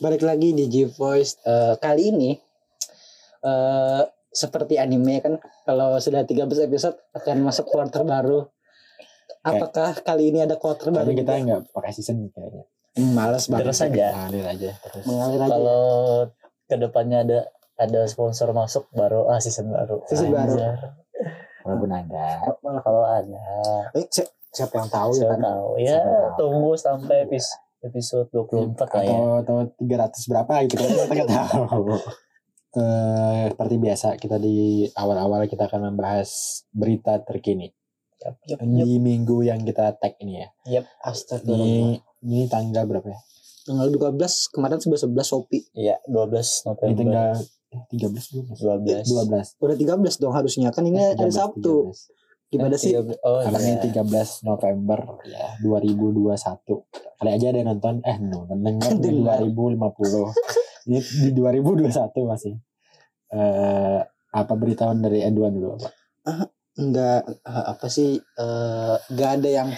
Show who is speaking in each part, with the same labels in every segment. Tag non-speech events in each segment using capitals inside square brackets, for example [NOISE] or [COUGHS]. Speaker 1: balik lagi di G Voice Eh, kali ini eh seperti anime kan kalau sudah 13 episode akan masuk quarter baru. Apakah kali ini ada quarter baru?
Speaker 2: Tapi kita
Speaker 1: juga?
Speaker 2: nggak pakai season kayaknya.
Speaker 1: Iya. Males banget.
Speaker 3: Terus aja.
Speaker 2: Ngalir aja terus.
Speaker 1: Mengalir aja.
Speaker 3: Kalau kedepannya ada ada sponsor masuk baru ah season baru.
Speaker 1: Season baru.
Speaker 3: Anjir.
Speaker 2: Walaupun ada.
Speaker 1: Malah-
Speaker 3: Kalau ada,
Speaker 1: Eh, si- siapa yang tahu ya
Speaker 3: saya
Speaker 1: kan?
Speaker 3: tahu. Ya
Speaker 2: Siapa tahu.
Speaker 3: tunggu sampai episode episode 24 lah ya.
Speaker 2: Atau atau 300 berapa gitu kan kita nggak tahu. [LAUGHS] Eh, seperti biasa kita di awal-awal kita akan membahas berita terkini
Speaker 3: Yap, yap, yap.
Speaker 2: di minggu yang kita tag ini ya.
Speaker 1: Astagfirullah.
Speaker 2: Ini ini tanggal berapa ya?
Speaker 1: Tanggal 12 kemarin 11 11 Shopee.
Speaker 3: Iya,
Speaker 2: Ini
Speaker 3: 12 November.
Speaker 2: tanggal eh, 13 belum? 12.
Speaker 3: 12.
Speaker 1: Udah 13 dong harusnya kan ini hari
Speaker 2: 13,
Speaker 1: Sabtu.
Speaker 2: 13.
Speaker 1: Gimana sih?
Speaker 3: Oh,
Speaker 2: Karena ini
Speaker 3: iya.
Speaker 2: 13 November
Speaker 1: Iya.
Speaker 2: ya 2021. Kali aja ada yang nonton eh
Speaker 1: [LAUGHS]
Speaker 2: no, mendengar di
Speaker 1: Dengar.
Speaker 2: 2050. ini di 2021 masih. Eh apa beritahuan dari Edwan dulu apa?
Speaker 1: nggak eh, apa sih eh, nggak ada yang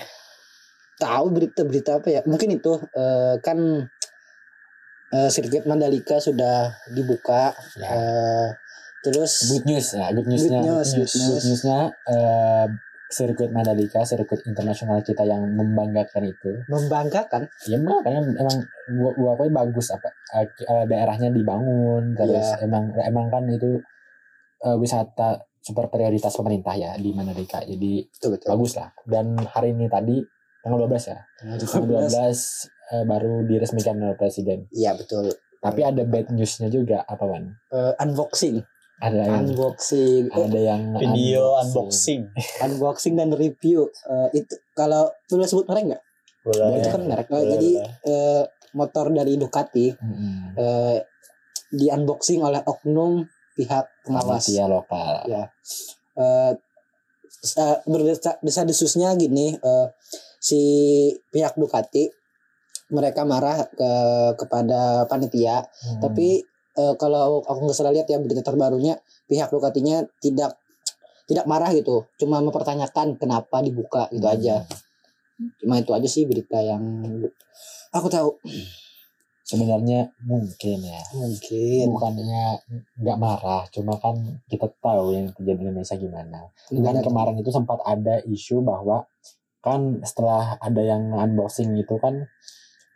Speaker 1: tahu berita-berita apa ya mungkin itu eh, kan eh, sirkuit Mandalika sudah dibuka
Speaker 2: Ya.
Speaker 1: eh, terus
Speaker 2: Good news ya, good newsnya.
Speaker 1: Good news, good news.
Speaker 2: Good newsnya eh, sirkuit Mandalika, sirkuit internasional kita yang membanggakan itu.
Speaker 1: membanggakan
Speaker 2: Ya emang karena emang gua, gua akuin bagus apa eh, eh, daerahnya dibangun terus
Speaker 1: Iya.
Speaker 2: emang emang kan itu eh, wisata super prioritas pemerintah ya di Mandalika. Jadi
Speaker 1: betul betul
Speaker 2: bagus lah dan hari ini tadi tanggal 12 ya tanggal 12 eh, baru diresmikan oleh presiden
Speaker 1: iya betul
Speaker 2: tapi ada bad newsnya juga apa man
Speaker 1: Eh, unboxing
Speaker 2: ada yang
Speaker 1: unboxing eh,
Speaker 2: ada yang
Speaker 3: video unboxing.
Speaker 1: unboxing dan review Eh, itu kalau boleh sebut merek nggak
Speaker 3: Boleh.
Speaker 1: itu kan merek Eh, jadi eh, motor dari Ducati
Speaker 2: Mm-mm.
Speaker 1: eh, di unboxing oleh oknum pihak pengawas
Speaker 3: iya.
Speaker 2: Panitia lokal
Speaker 1: Iya. eh berdesa desusnya gini eh, si pihak Ducati mereka marah ke kepada panitia
Speaker 2: Mm.
Speaker 1: tapi eh, kalau aku nggak salah lihat ya berita terbarunya pihak Ducatinya tidak tidak marah gitu cuma mempertanyakan kenapa dibuka gitu
Speaker 2: Mm.
Speaker 1: aja cuma itu aja sih berita yang aku tahu
Speaker 2: sebenarnya mungkin ya
Speaker 1: mungkin
Speaker 2: bukannya nggak marah cuma kan kita tahu yang terjadi di Indonesia gimana Dan
Speaker 1: Negara-
Speaker 2: kemarin itu sempat ada isu bahwa kan setelah ada yang unboxing itu kan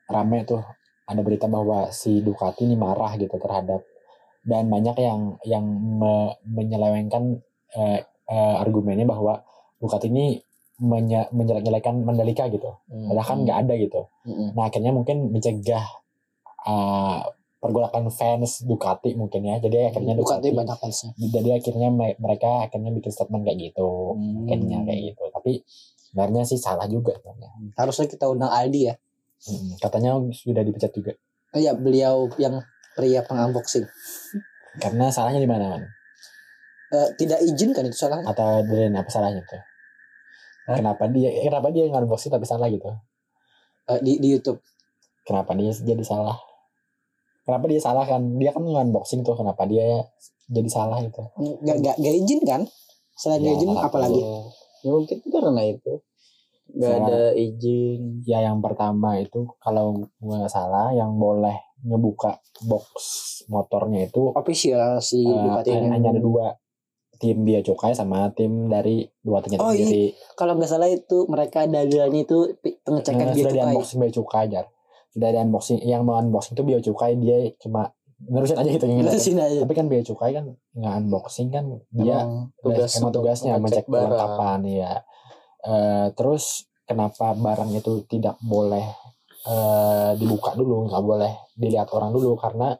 Speaker 2: rame tuh ada berita bahwa si Ducati ini marah gitu terhadap dan banyak yang yang me- menyelewengkan eh, eh, argumennya bahwa Ducati ini menye- menjelek-jelekan Mandalika gitu.
Speaker 1: Hmm.
Speaker 2: Padahal kan nggak ada gitu.
Speaker 1: Mm-mm.
Speaker 2: Nah akhirnya mungkin mencegah eh, pergolakan fans Ducati mungkin ya. Jadi akhirnya
Speaker 1: Hmm, Ducati banyak fansnya
Speaker 2: jadi akhirnya me- mereka akhirnya bikin statement kayak gitu
Speaker 1: Hmm.
Speaker 2: akhirnya kayak gitu tapi sebenarnya sih salah juga sebenarnya
Speaker 1: harusnya kita undang Aldi ya
Speaker 2: Mm, katanya sudah dipecat juga
Speaker 1: Oh ya beliau yang pria pengunboxing
Speaker 2: karena salahnya di mana man
Speaker 1: Eh, tidak izin kan itu salah
Speaker 2: atau dari apa salahnya tuh
Speaker 3: Hah?
Speaker 2: kenapa dia kenapa dia yang unboxing tapi salah gitu
Speaker 1: Eh, di di YouTube
Speaker 2: kenapa dia jadi salah kenapa dia salah kan dia kan unboxing tuh kenapa dia jadi salah gitu
Speaker 1: nggak nggak nggak izin kan selain nggak
Speaker 2: Ya,
Speaker 1: izin
Speaker 2: salah
Speaker 1: apalagi
Speaker 2: tuh.
Speaker 3: Ya mungkin karena itu. Gak
Speaker 2: Salah.
Speaker 3: ada izin.
Speaker 2: ya yang pertama itu kalau gue nggak salah yang boleh ngebuka box motornya itu
Speaker 1: official si
Speaker 2: Eh,
Speaker 1: Ducati ini.
Speaker 2: hanya ada dua tim dia Cukai sama tim dari dua tingkat
Speaker 1: Oh, iya.
Speaker 2: sendiri
Speaker 1: kalau nggak salah itu mereka dagangannya itu pi- pengecekan dia
Speaker 2: Nah, sudah di
Speaker 1: cukai
Speaker 2: unboxing Bea Cukai jar sudah di unboxing yang mau unboxing itu Bea Cukai dia cuma nerusin aja gitu yang
Speaker 1: Nah,
Speaker 2: gitu.
Speaker 1: sini aja
Speaker 2: tapi kan Bea Cukai kan nggak unboxing kan dia
Speaker 1: Oh.
Speaker 3: Emang
Speaker 2: tugas emang
Speaker 3: untuk
Speaker 2: tugasnya mengecek
Speaker 3: ngecek
Speaker 2: perlengkapan ya Eh, terus kenapa barang itu tidak boleh eh, dibuka dulu nggak boleh dilihat orang dulu karena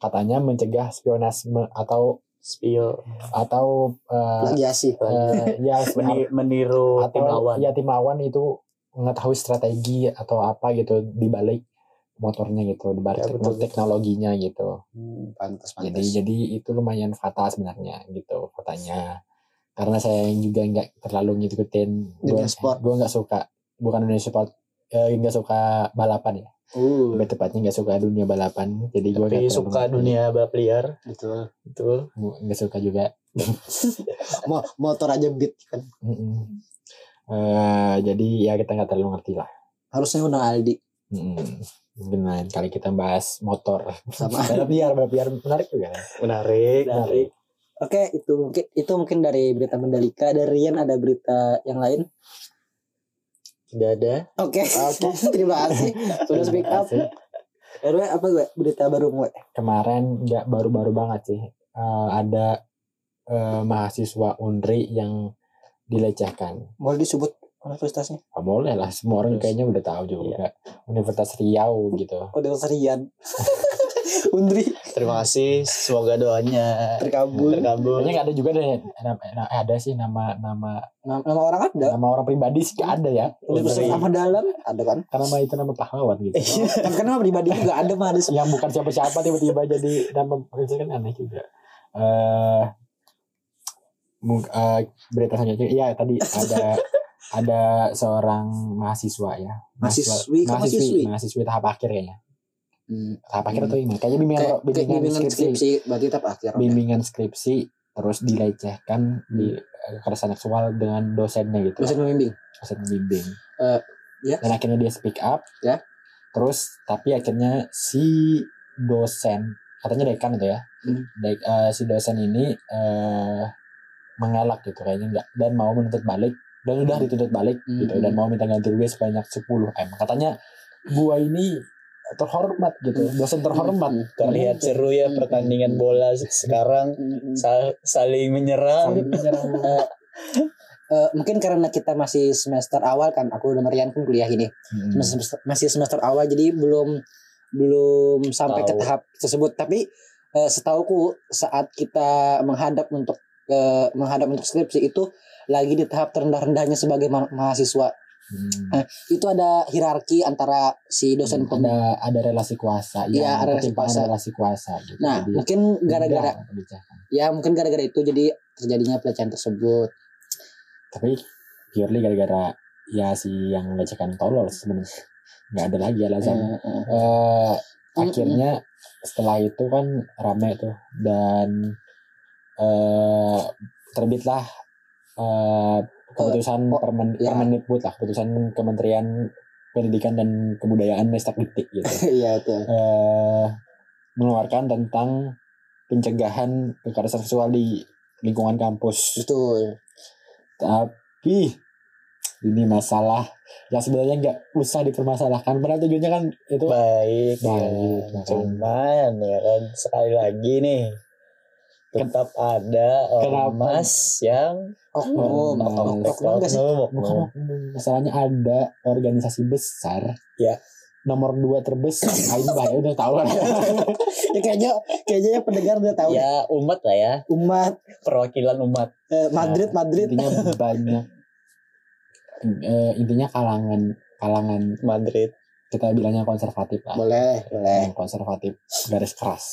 Speaker 2: katanya mencegah spionasme atau
Speaker 3: Spion.
Speaker 2: atau eh,
Speaker 1: plagiasi
Speaker 2: Eh,
Speaker 3: [LAUGHS]
Speaker 2: ya
Speaker 3: Meni- meniru
Speaker 2: atau
Speaker 3: Iya. tim lawan.
Speaker 2: ya tim lawan itu mengetahui strategi atau apa gitu di balik motornya gitu di balik
Speaker 3: Ya, betul, betul.
Speaker 2: teknologinya gitu
Speaker 1: hmm, pantas
Speaker 2: jadi jadi itu lumayan fatal sebenarnya gitu katanya karena saya juga nggak terlalu ngikutin
Speaker 1: Dunia
Speaker 2: gue
Speaker 1: sport.
Speaker 2: gue nggak suka bukan dunia sport eh, nggak suka balapan ya
Speaker 1: uh,
Speaker 2: lebih tepatnya nggak suka dunia balapan jadi gue
Speaker 3: Tapi suka dunia balap liar.
Speaker 1: betul
Speaker 3: Betul.
Speaker 2: nggak suka juga
Speaker 1: Mo- motor aja beat kan
Speaker 2: Mm-mm. Eh, jadi ya kita nggak terlalu ngerti lah
Speaker 1: harusnya undang Aldi
Speaker 2: Mm-mm. Mungkin lain kali kita bahas motor.
Speaker 1: sama
Speaker 2: [LAUGHS] Balap liar, balap liar menarik juga. kan?
Speaker 3: Menarik.
Speaker 2: Menarik.
Speaker 1: Oke, itu mungkin itu mungkin dari berita Mandalika. Dari Rian ada berita yang lain.
Speaker 3: Tidak ada.
Speaker 1: Oke,
Speaker 2: Oke.
Speaker 1: [LAUGHS] terima kasih sudah speak up.
Speaker 2: Terima kasih.
Speaker 1: Rw apa gue berita baru gue?
Speaker 2: Kemarin nggak baru-baru banget sih. Eh, ada eh, mahasiswa Unri yang dilecehkan.
Speaker 1: Mau disebut universitasnya?
Speaker 2: Ah, boleh lah, semua orang
Speaker 3: Terus.
Speaker 2: kayaknya udah tahu
Speaker 1: Iya.
Speaker 2: juga. Universitas Riau gitu.
Speaker 1: Oh, Universitas Rian. [LAUGHS] Undri
Speaker 3: Terima kasih. Semoga doanya
Speaker 1: terkabul.
Speaker 3: terkabul.
Speaker 2: Kayaknya nggak ada juga deh. Nama, na- ada sih nama nama
Speaker 1: Nama, nama orang ada.
Speaker 2: nama orang pribadi sih nggak ada ya.
Speaker 1: Universitas
Speaker 3: Undri.
Speaker 1: sama dalam ada kan?
Speaker 2: Karena nama itu nama pahlawan gitu.
Speaker 1: Kan kan nama pribadi juga ada mah ada semua.
Speaker 2: yang bukan siapa-siapa tiba-tiba jadi nama pekerja kan aneh juga. Eh mung- eh, berita selanjutnya, iya tadi
Speaker 1: [LAUGHS]
Speaker 2: ada ada seorang mahasiswa ya.
Speaker 1: Mahasiswi
Speaker 2: mahasiswi,
Speaker 1: kah
Speaker 2: mahasiswi,
Speaker 1: mahaswi?
Speaker 2: mahasiswi tahap akhir kayaknya.
Speaker 1: Hmm.
Speaker 2: Tahap akhir atau ini? Kayaknya bimbingan,
Speaker 1: Kayak, kayak
Speaker 2: bimbingan,
Speaker 1: bimbingan
Speaker 2: skripsi.
Speaker 1: skripsi berarti tahap akhir.
Speaker 2: Bimbingan skripsi terus dilecehkan di eh, kekerasan seksual dengan dosennya gitu.
Speaker 1: Dosen membimbing.
Speaker 2: Dosen bimbing.
Speaker 1: Eh, ya.
Speaker 2: Dan akhirnya dia speak up.
Speaker 1: Ya.
Speaker 2: Terus tapi akhirnya si dosen katanya dekan itu ya.
Speaker 1: Hmm.
Speaker 2: Dek, eh, si dosen ini eh mengelak gitu kayaknya enggak dan mau menuntut balik dan udah dituntut balik gitu
Speaker 1: Hmm.
Speaker 2: dan mau minta ganti rugi sebanyak 10 m katanya gua ini terhormat gitu dosen terhormat
Speaker 1: Hmm.
Speaker 3: Terlihat seru ya pertandingan bola sekarang
Speaker 1: Hmm.
Speaker 3: Sal- saling menyerang.
Speaker 2: Saling menyerang.
Speaker 1: Eh, mungkin karena kita masih semester awal kan aku udah Rian kan kuliah ini
Speaker 2: Hmm.
Speaker 1: Semester- masih semester awal jadi belum belum sampai ke
Speaker 3: Tahu.
Speaker 1: tahap tersebut tapi eh, setauku saat kita menghadap untuk eh, menghadap untuk skripsi itu lagi di tahap terendah-rendahnya sebagai ma- mahasiswa
Speaker 2: Hmm.
Speaker 1: itu ada hierarki antara si dosen pem-
Speaker 2: ada ada relasi kuasa
Speaker 1: Iya,
Speaker 2: ya,
Speaker 1: ada relasi
Speaker 2: ketimpangan
Speaker 1: kuasa.
Speaker 2: relasi kuasa gitu.
Speaker 1: nah
Speaker 2: Jadi, gitu.
Speaker 1: mungkin gara-gara
Speaker 2: mudah dilecehkan.
Speaker 1: ya mungkin gara-gara itu jadi terjadinya pelecehan tersebut
Speaker 2: tapi purely gara-gara ya si yang melecehkan tolol sebenarnya nggak ada lagi alasan
Speaker 1: Eh, eh.
Speaker 2: Eh,
Speaker 1: Mm-mm.
Speaker 2: akhirnya setelah itu kan rame tuh dan eh terbitlah eh, keputusan
Speaker 1: po-
Speaker 2: permen
Speaker 1: ya.
Speaker 2: Permendikbud lah keputusan Kementerian Pendidikan dan Kebudayaan Ristekdikti gitu
Speaker 1: [LAUGHS] iya tuh
Speaker 2: eh mengeluarkan tentang pencegahan kekerasan seksual di lingkungan kampus.
Speaker 1: betul
Speaker 2: Tapi ini masalah yang sebenarnya nggak usah dipermasalahkan. Padahal tujuannya kan itu
Speaker 3: Baik. ya.
Speaker 2: Baik, ya kan.
Speaker 3: Cuman ya kan sekali lagi nih tetap ada
Speaker 2: Kenapa?
Speaker 3: ormas yang
Speaker 1: Oh, oknum
Speaker 2: Nah,
Speaker 1: oknum
Speaker 2: Oknum
Speaker 1: oknum nggak sih
Speaker 2: bukan
Speaker 1: Oh.
Speaker 3: oknum
Speaker 2: oknum. masalahnya ada organisasi besar.
Speaker 3: Ya.
Speaker 2: Nomor dua terbesar.
Speaker 1: [COUGHS]
Speaker 2: Ah, ini bahaya udah tahu kan.
Speaker 1: ya kayaknya kayaknya ya pendengar udah tahu
Speaker 2: Iya.
Speaker 3: ya umat lah ya
Speaker 1: umat
Speaker 3: perwakilan umat
Speaker 2: Iya.
Speaker 1: eh, Madrid Madrid
Speaker 2: Intinya banyak. eh, intinya kalangan kalangan
Speaker 3: Madrid
Speaker 2: kita bilangnya konservatif lah.
Speaker 1: boleh boleh
Speaker 2: yang konservatif garis keras.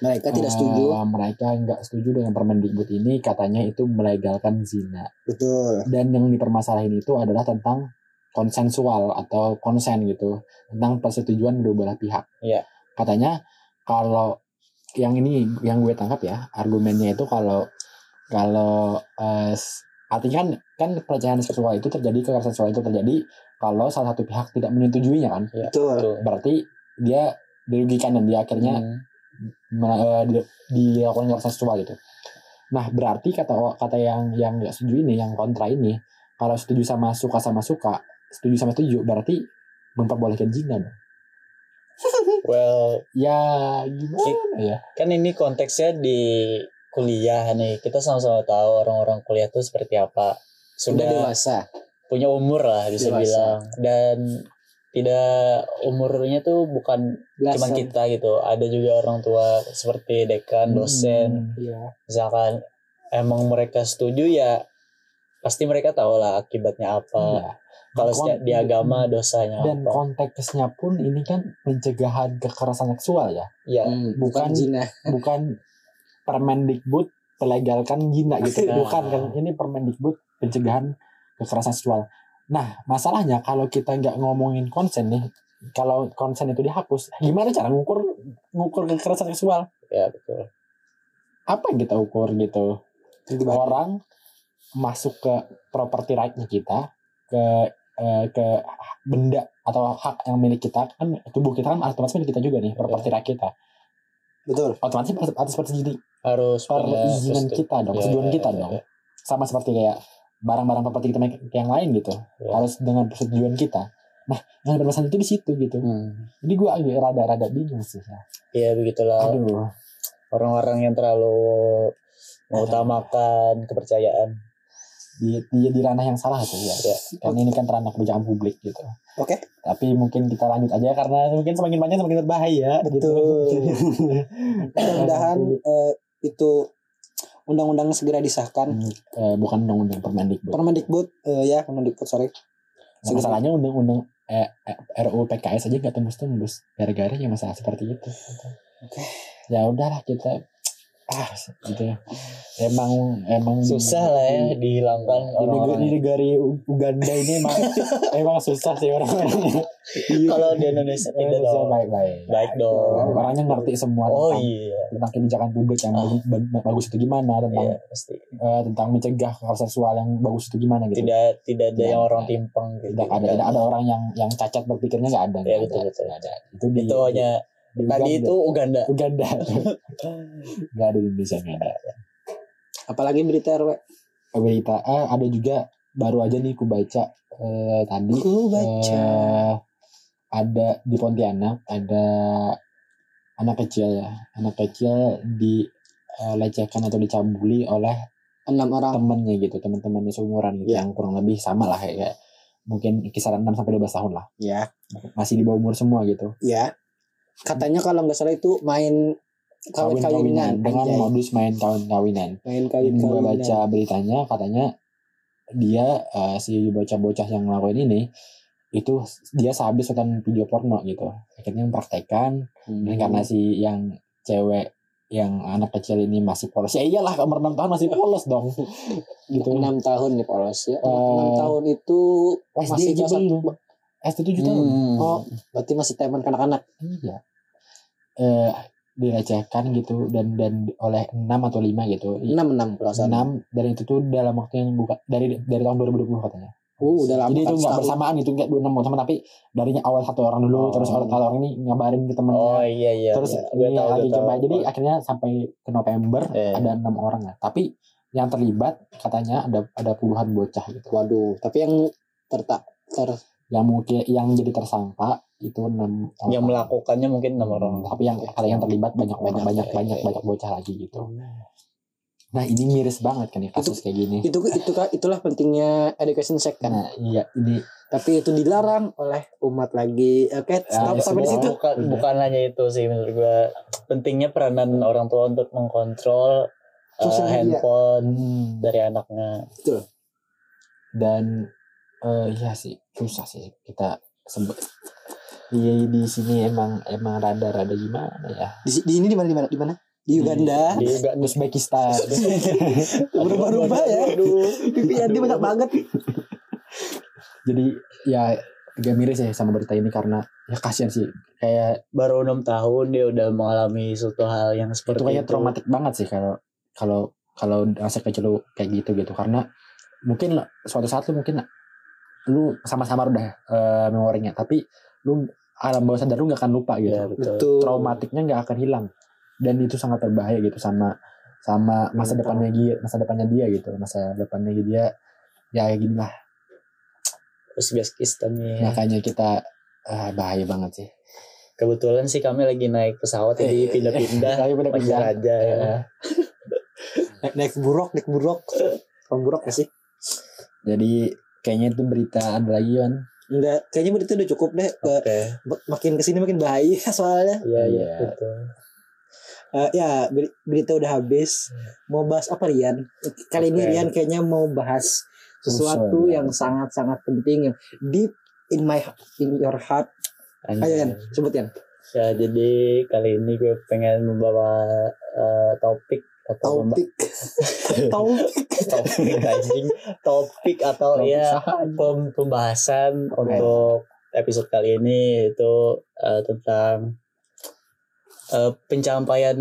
Speaker 1: mereka tidak
Speaker 2: Eh,
Speaker 1: setuju
Speaker 2: mereka nggak setuju dengan Permendikbud ini katanya itu melegalkan zina.
Speaker 1: betul
Speaker 2: Dan yang dipermasalahin itu adalah tentang konsensual atau konsen gitu tentang persetujuan kedua belah pihak.
Speaker 3: Iya.
Speaker 2: Katanya kalau yang ini yang gue tangkap ya argumennya itu kalau kalau eh, s- artinya kan kan pelecehan seksual itu terjadi kekerasan seksual itu terjadi kalau salah satu pihak tidak menyetujuinya kan
Speaker 1: betul
Speaker 3: tuh
Speaker 2: berarti dia dirugikan dan dia akhirnya
Speaker 3: Hmm.
Speaker 2: mela- eh, di- dilakukan kekerasan seksual gitu. Nah berarti kata kata yang yang nggak setuju ini, yang kontra ini, kalau setuju sama suka sama suka, setuju sama setuju berarti memperbolehkan zina dong.
Speaker 3: well
Speaker 2: Ya gimana ya?
Speaker 3: kan ini konteksnya di kuliah nih kita sama-sama tahu orang-orang kuliah tuh seperti apa
Speaker 1: sudah
Speaker 3: sudah
Speaker 1: dewasa
Speaker 3: punya umur lah bisa
Speaker 1: Dewasa.
Speaker 3: bilang dan tidak umurnya tuh bukan cuma
Speaker 1: Dewasa.
Speaker 3: kita gitu ada juga orang tua seperti
Speaker 2: Hmm.
Speaker 3: dekan dosen
Speaker 2: Iya.
Speaker 3: misalkan emang mereka setuju ya pasti mereka tahu lah akibatnya apa
Speaker 2: Iya.
Speaker 3: kalau
Speaker 2: Dan
Speaker 3: setiap
Speaker 2: kon-
Speaker 3: di agama dosanya
Speaker 2: dan
Speaker 3: apa
Speaker 2: konteksnya pun ini kan pencegahan kekerasan seksual ya,
Speaker 3: ya
Speaker 1: Hmm, bukan
Speaker 2: bukan
Speaker 1: zina
Speaker 2: bukan Permendikbud melegalkan zina gitu,
Speaker 3: Nah.
Speaker 2: bukan kan? Ini Permendikbud pencegahan kekerasan seksual. Nah, masalahnya kalau kita nggak ngomongin konsen nih, kalau konsen itu dihapus, gimana cara ngukur ngukur kekerasan seksual?
Speaker 3: ya betul
Speaker 2: Apa yang kita ukur gitu? Orang masuk ke properti right-nya kita, ke eh, ke benda atau hak yang milik kita kan tubuh kita kan otomatis milik kita juga nih properti rakyat kita
Speaker 1: betul
Speaker 2: otomatis atas, atas persetujuan
Speaker 3: harus punya
Speaker 2: perizinan
Speaker 3: persetu-
Speaker 2: kita dong
Speaker 3: Iya,
Speaker 2: persetujuan
Speaker 3: iya,
Speaker 2: kita
Speaker 3: iya,
Speaker 2: dong
Speaker 3: iya.
Speaker 2: sama seperti kayak barang-barang properti kita yang lain gitu
Speaker 3: Iya.
Speaker 2: harus dengan persetujuan kita nah yang permasalahan itu di situ gitu jadi gue agak rada-rada bingung sih ya.
Speaker 3: Iya begitulah
Speaker 2: aduh
Speaker 3: orang-orang yang terlalu mengutamakan kepercayaan.
Speaker 2: di, di, di ranah yang salah tuh ya.
Speaker 3: Iya.
Speaker 2: Karena ini kan ranah kebijakan publik gitu.
Speaker 1: Oke.
Speaker 2: Tapi mungkin kita lanjut aja karena mungkin semakin banyak semakin berbahaya. gitu. [LAUGHS]
Speaker 1: Betul. mudah-mudahan
Speaker 2: Iya.
Speaker 1: eh, itu undang-undang segera disahkan
Speaker 2: Hmm, eh, bukan undang-undang Permendikbud.
Speaker 1: Permendikbud eh, ya Permendikbud sorry
Speaker 2: Nah, masalahnya undang-undang eh, eh, RUU PKS aja nggak tembus-tembus gara-gara ya masalah seperti itu.
Speaker 1: Oke.
Speaker 2: Ya udahlah kita ah gitu ya. Emang emang
Speaker 3: Susah lah ya
Speaker 2: di- Iya. Di,
Speaker 3: dihilangkan
Speaker 2: negeri,
Speaker 3: orang-orang. ya.
Speaker 2: di negara U- Uganda ini emang
Speaker 3: [LAUGHS]
Speaker 2: emang susah sih orang-orangnya.
Speaker 3: Kalau di Indonesia tidak
Speaker 2: Indonesia
Speaker 3: dong.
Speaker 2: baik-baik.
Speaker 3: Iya Baik dong.
Speaker 2: Orangnya ngerti semua
Speaker 3: Oh
Speaker 2: tentang,
Speaker 3: iya. Ah.
Speaker 2: tentang kebijakan publik yang bagus, ba- bagus itu gimana, tentang
Speaker 3: Iya pasti.
Speaker 2: eh, tentang mencegah hal seksual yang bagus itu gimana gitu.
Speaker 3: Tidak tidak ada
Speaker 2: Tidak
Speaker 3: yang orang
Speaker 2: ada.
Speaker 3: timpang gitu.
Speaker 2: Tidak ada, tidak ada orang yang yang cacat berpikirnya nggak ada.
Speaker 3: Iya,
Speaker 2: nggak
Speaker 3: betul,
Speaker 2: ada,
Speaker 3: betul.
Speaker 2: nggak ada. Itu di,
Speaker 3: Itu hanya
Speaker 2: di
Speaker 3: tadi
Speaker 2: Iya, Uganda.
Speaker 3: itu Uganda.
Speaker 2: Uganda.
Speaker 3: [LAUGHS]
Speaker 2: nggak ada di Indonesia nggak ada.
Speaker 1: apalagi berita RW
Speaker 2: Berita eh, ada juga baru aja nih ku baca eh, tadi
Speaker 1: ku baca
Speaker 2: Eh, ada di Pontianak ada anak kecil ya anak kecil dilecehkan atau dicabuli oleh
Speaker 1: enam orang
Speaker 2: temennya gitu teman-temannya seumuran gitu
Speaker 1: Iya.
Speaker 2: yang kurang lebih sama lah kayak mungkin kisaran 6 sampai 12 tahun lah
Speaker 1: ya
Speaker 2: masih di bawah umur semua gitu
Speaker 1: ya katanya kalau nggak salah itu main kawin-kawinan
Speaker 2: dengan
Speaker 1: anjay.
Speaker 2: modus main kawin-kawinan
Speaker 1: main
Speaker 2: Yang gue
Speaker 1: kawin-kawinan
Speaker 2: Hmm, baca beritanya katanya dia eh, si bocah-bocah yang ngelakuin ini itu dia sehabis nonton video porno gitu akhirnya mempraktekan dan Hmm.
Speaker 1: Hmm.
Speaker 2: karena si yang cewek yang anak kecil ini masih polos ya iyalah umur 6 tahun masih polos
Speaker 1: [LAUGHS]
Speaker 2: dong gitu
Speaker 1: enam tahun nih polos ya Anak
Speaker 2: Eh,
Speaker 1: enam tahun itu
Speaker 2: SD aja
Speaker 1: kelas satu.
Speaker 2: belum SD 7 tahun
Speaker 1: Hmm.
Speaker 2: Oh.
Speaker 1: berarti masih teman kanak-kanak
Speaker 2: iya eh dilecehkan gitu dan dan oleh 6 atau 5 gitu
Speaker 1: enam enam kalau
Speaker 3: Hmm.
Speaker 1: nggak salah
Speaker 2: 6 dan itu tuh dalam waktu yang buka dari dari tahun 2020
Speaker 1: uh
Speaker 2: katanya
Speaker 3: Oh,
Speaker 1: udah lama
Speaker 2: Jadi itu
Speaker 1: kan
Speaker 2: nggak
Speaker 1: setahun.
Speaker 2: bersamaan itu nggak dua enam teman tapi darinya awal satu orang dulu
Speaker 3: Oh.
Speaker 2: terus orang satu orang ini ngabarin ke temennya
Speaker 3: Oh iya iya.
Speaker 2: terus
Speaker 3: iya. Gua
Speaker 2: ini
Speaker 3: tahu,
Speaker 2: lagi
Speaker 3: gua tahu.
Speaker 2: coba jadi akhirnya sampai ke November
Speaker 3: Iya.
Speaker 2: ada enam orang lah tapi yang terlibat katanya ada ada puluhan bocah gitu
Speaker 1: waduh tapi yang tertak ter
Speaker 2: yang mungkin yang jadi tersangka itu enam orang. Hmm,
Speaker 3: yang melakukannya mungkin enam orang.
Speaker 2: tapi yang ada yang terlibat banyak banyak
Speaker 3: Banyak,
Speaker 2: banyak
Speaker 3: iya,
Speaker 2: banyak
Speaker 3: iya.
Speaker 2: banyak bocah lagi gitu
Speaker 3: Hmm.
Speaker 2: nah ini miris banget kan ya kasus kayak gini
Speaker 1: itu itu itulah pentingnya education sec kan
Speaker 2: nah iya ini
Speaker 1: tapi itu dilarang oleh umat lagi oke stop
Speaker 2: ya,
Speaker 1: sampai di
Speaker 2: semua.
Speaker 1: situ
Speaker 3: Bukan,
Speaker 2: Udah.
Speaker 3: bukan hanya itu sih menurut gua pentingnya peranan orang tua untuk mengkontrol eh,
Speaker 1: Sosial media.
Speaker 3: handphone
Speaker 2: ya. hmm,
Speaker 3: dari anaknya.
Speaker 2: dan eh iya sih susah sih kita sebut di, di sini emang emang rada-rada gimana ya
Speaker 1: di, di ini di mana di mana di mana di Uganda
Speaker 2: di Uga- Uzbekistan
Speaker 1: berubah-ubah ya pipi Yanti
Speaker 2: Aduh.
Speaker 1: banyak banget
Speaker 2: jadi ya agak miris ya sama berita ini karena ya kasihan sih kayak
Speaker 3: Baru enam tahun dia udah mengalami suatu hal yang seperti
Speaker 2: itu kayak traumatik banget sih kalau kalau kalau masa kecil lu kayak gitu gitu karena mungkin lo- suatu saat lu mungkin lu sama-sama udah eh, memorinya tapi lu alam bawah sadar lu nggak akan lupa gitu
Speaker 3: Ya, betul.
Speaker 1: betul
Speaker 2: traumatiknya nggak akan hilang dan itu sangat berbahaya gitu sama sama masa
Speaker 3: Betul.
Speaker 2: depannya dia masa depannya dia gitu masa depannya dia ya kayak gini lah
Speaker 3: Uzbekistan ya.
Speaker 2: makanya kita ah, bahaya banget sih
Speaker 3: Kebetulan sih kami lagi naik pesawat jadi
Speaker 2: [LAUGHS]
Speaker 3: pindah-pindah
Speaker 2: Tapi pada
Speaker 3: wajar
Speaker 2: pindah
Speaker 3: aja ya.
Speaker 2: Eh,
Speaker 1: naik, naik buruk naik buruk Orang buruk gak sih
Speaker 2: jadi kayaknya itu berita ada lagi kan
Speaker 1: Enggak, kayaknya berita udah cukup deh. Ke,
Speaker 3: Oke.
Speaker 1: mak- makin kesini makin bahaya [LAUGHS] soalnya.
Speaker 3: Iya iya
Speaker 2: Iya.
Speaker 3: betul.
Speaker 1: Eh, ya beri- berita udah habis. Mau bahas apa Rian? Kali ini
Speaker 3: Hmm. Oke.
Speaker 1: Rian kayaknya mau bahas sesuatu
Speaker 2: Usul, ya.
Speaker 1: yang sangat-sangat penting yang deep in my in your heart. Ayo Rian,
Speaker 3: Hmm.
Speaker 1: sebut Rian.
Speaker 3: Ya, jadi kali ini gue pengen membawa eh, topik atau memba-
Speaker 1: Taufik.
Speaker 3: [LAUGHS]
Speaker 1: Taufik.
Speaker 3: topik anjing. topik atau
Speaker 2: Topik
Speaker 3: ya
Speaker 2: sahan.
Speaker 3: pem- pembahasan untuk episode kali ini itu tentang eh, pencapaian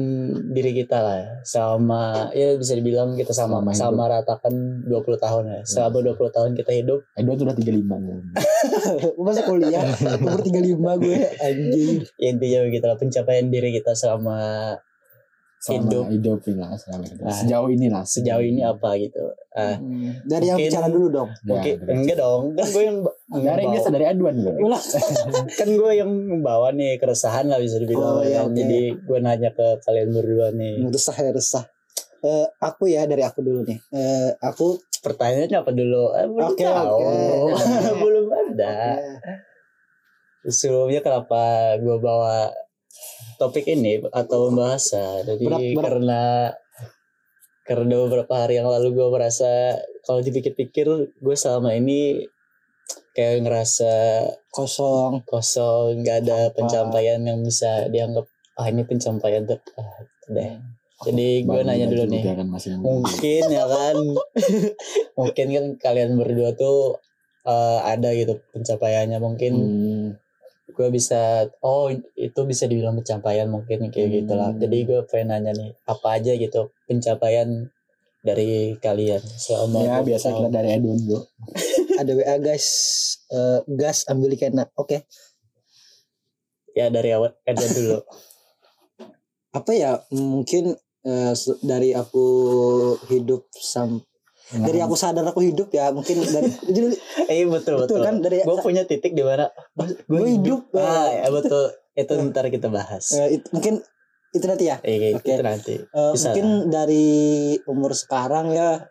Speaker 3: diri kita lah ya. sama ya bisa dibilang kita sama
Speaker 2: Selama hidup.
Speaker 3: sama ratakan 20 tahun
Speaker 1: Iya.
Speaker 3: ya. Selama 20 tahun kita hidup
Speaker 2: Edo tuh udah 35 nih.
Speaker 1: masa kuliah umur 35 gue anjing
Speaker 3: ya intinya begitulah pencapaian diri kita selama Hidup.
Speaker 2: Selama hidup lah, selama hidup.
Speaker 3: Nah,
Speaker 2: Sejauh ini lah.
Speaker 3: sejauh ini
Speaker 1: Hmm.
Speaker 3: apa gitu. Ah,
Speaker 1: dari yang
Speaker 3: Mungkin-
Speaker 1: bicara dulu dong
Speaker 3: Oke, enggak dong. Kan gue yang
Speaker 2: Dari ini
Speaker 3: bawa-
Speaker 2: dari aduan gue.
Speaker 1: Ulah.
Speaker 3: kan gue yang membawa nih keresahan lah bisa
Speaker 1: Oh,
Speaker 3: dibilang
Speaker 1: iya, oke.
Speaker 3: kan. jadi gue nanya ke kalian berdua nih
Speaker 1: resah ya resah Eh, aku ya dari aku dulu nih Eh, aku
Speaker 3: pertanyaannya apa dulu eh, belum
Speaker 1: Oke,
Speaker 3: tahu
Speaker 1: oke.
Speaker 3: [LAUGHS] belum ada
Speaker 1: eh,
Speaker 3: sebelumnya kenapa gue bawa topik ini atau bahasa jadi
Speaker 1: Berat, berat.
Speaker 3: karena karena beberapa hari yang lalu gue merasa kalau dipikir-pikir gue selama ini kayak ngerasa
Speaker 1: kosong
Speaker 3: kosong nggak ada pencapaian yang bisa dianggap ah ini pencapaian ter ah, gitu deh jadi gue nanya dulu nih
Speaker 2: Kan, masih muda.
Speaker 3: mungkin ya [LAUGHS] kan mungkin kan kalian berdua tuh eh, ada gitu pencapaiannya mungkin
Speaker 2: Hmm.
Speaker 3: gue bisa oh itu bisa dibilang pencapaian mungkin kayak
Speaker 2: Hmm.
Speaker 3: gitu lah jadi gue pengen nanya nih apa aja gitu pencapaian dari kalian selama
Speaker 2: Ya
Speaker 3: 20
Speaker 2: biasa
Speaker 3: tahun.
Speaker 2: kita dari aduan bro.
Speaker 1: ada wa guys Eh, gas ambil ikan Nah, oke
Speaker 3: ya dari awal aja dulu
Speaker 1: apa ya mungkin eh, se- dari aku hidup sam dari aku sadar aku hidup ya mungkin
Speaker 3: [LAUGHS]
Speaker 1: dari jadi
Speaker 3: eh [LAUGHS] Hmm. betul
Speaker 1: betul
Speaker 3: betul,
Speaker 1: kan dari
Speaker 3: gue punya titik di mana
Speaker 1: gue hidup
Speaker 3: ah
Speaker 1: eh,
Speaker 3: ya betul [LAUGHS] itu ntar kita bahas
Speaker 1: eh, it- mungkin itu nanti ya
Speaker 3: Eh,
Speaker 1: Oke.
Speaker 3: itu nanti
Speaker 1: Eh,
Speaker 3: Bisa
Speaker 1: mungkin dari umur sekarang ya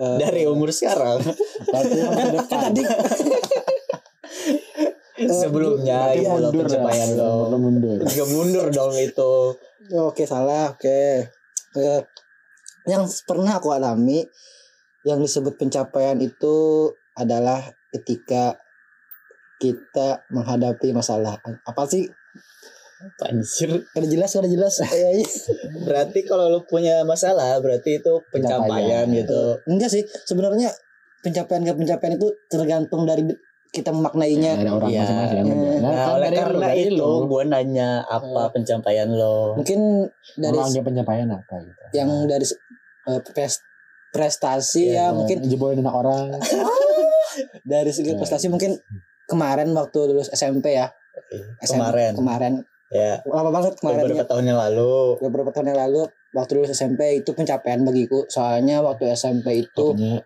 Speaker 1: eh, [LAUGHS]
Speaker 3: dari umur sekarang
Speaker 2: Tapi yang
Speaker 1: kan
Speaker 2: masa depan.
Speaker 1: tadi
Speaker 3: [LAUGHS] sebelumnya
Speaker 1: berarti
Speaker 3: gitu loh
Speaker 2: mundur lah.
Speaker 3: pencapaian lo
Speaker 2: Lo mundur.
Speaker 3: juga mundur dong itu
Speaker 1: Oke salah oke Eh, yang pernah aku alami yang disebut pencapaian itu adalah ketika kita menghadapi masalah apa sih
Speaker 3: Anjir.
Speaker 1: ada jelas ada
Speaker 3: [LAUGHS]
Speaker 1: jelas Eh,
Speaker 3: Berarti kalau lu punya masalah berarti itu
Speaker 2: Pencapaian.
Speaker 3: pencapaian gitu.
Speaker 1: enggak sih sebenarnya pencapaian gak pencapaian itu tergantung dari kita memaknainya
Speaker 2: Ada orang
Speaker 3: Iya.
Speaker 2: masing-masing yang
Speaker 1: Iya.
Speaker 2: beda. Nah,
Speaker 3: Nah,
Speaker 2: kan
Speaker 3: oleh
Speaker 2: dari lo,
Speaker 3: karena
Speaker 2: dari
Speaker 3: itu
Speaker 2: lo,
Speaker 3: gue nanya apa pencapaian lo.
Speaker 1: mungkin dari
Speaker 2: Menganggap pencapaian apa gitu.
Speaker 1: yang dari eh, pres- prestasi
Speaker 2: Nah,
Speaker 3: Iya,
Speaker 1: ya mungkin
Speaker 2: jebolin anak orang.
Speaker 1: dari segi
Speaker 3: Iya.
Speaker 2: Nah.
Speaker 1: prestasi mungkin kemarin waktu lulus SMP ya SMP,
Speaker 3: Kemarin.
Speaker 1: kemarin
Speaker 3: Ya,
Speaker 1: lama banget kemarin
Speaker 3: beberapa tahun yang lalu.
Speaker 1: ya. beberapa tahun yang lalu waktu lulus SMP itu pencapaian bagiku soalnya waktu SMP itu
Speaker 2: Pokoknya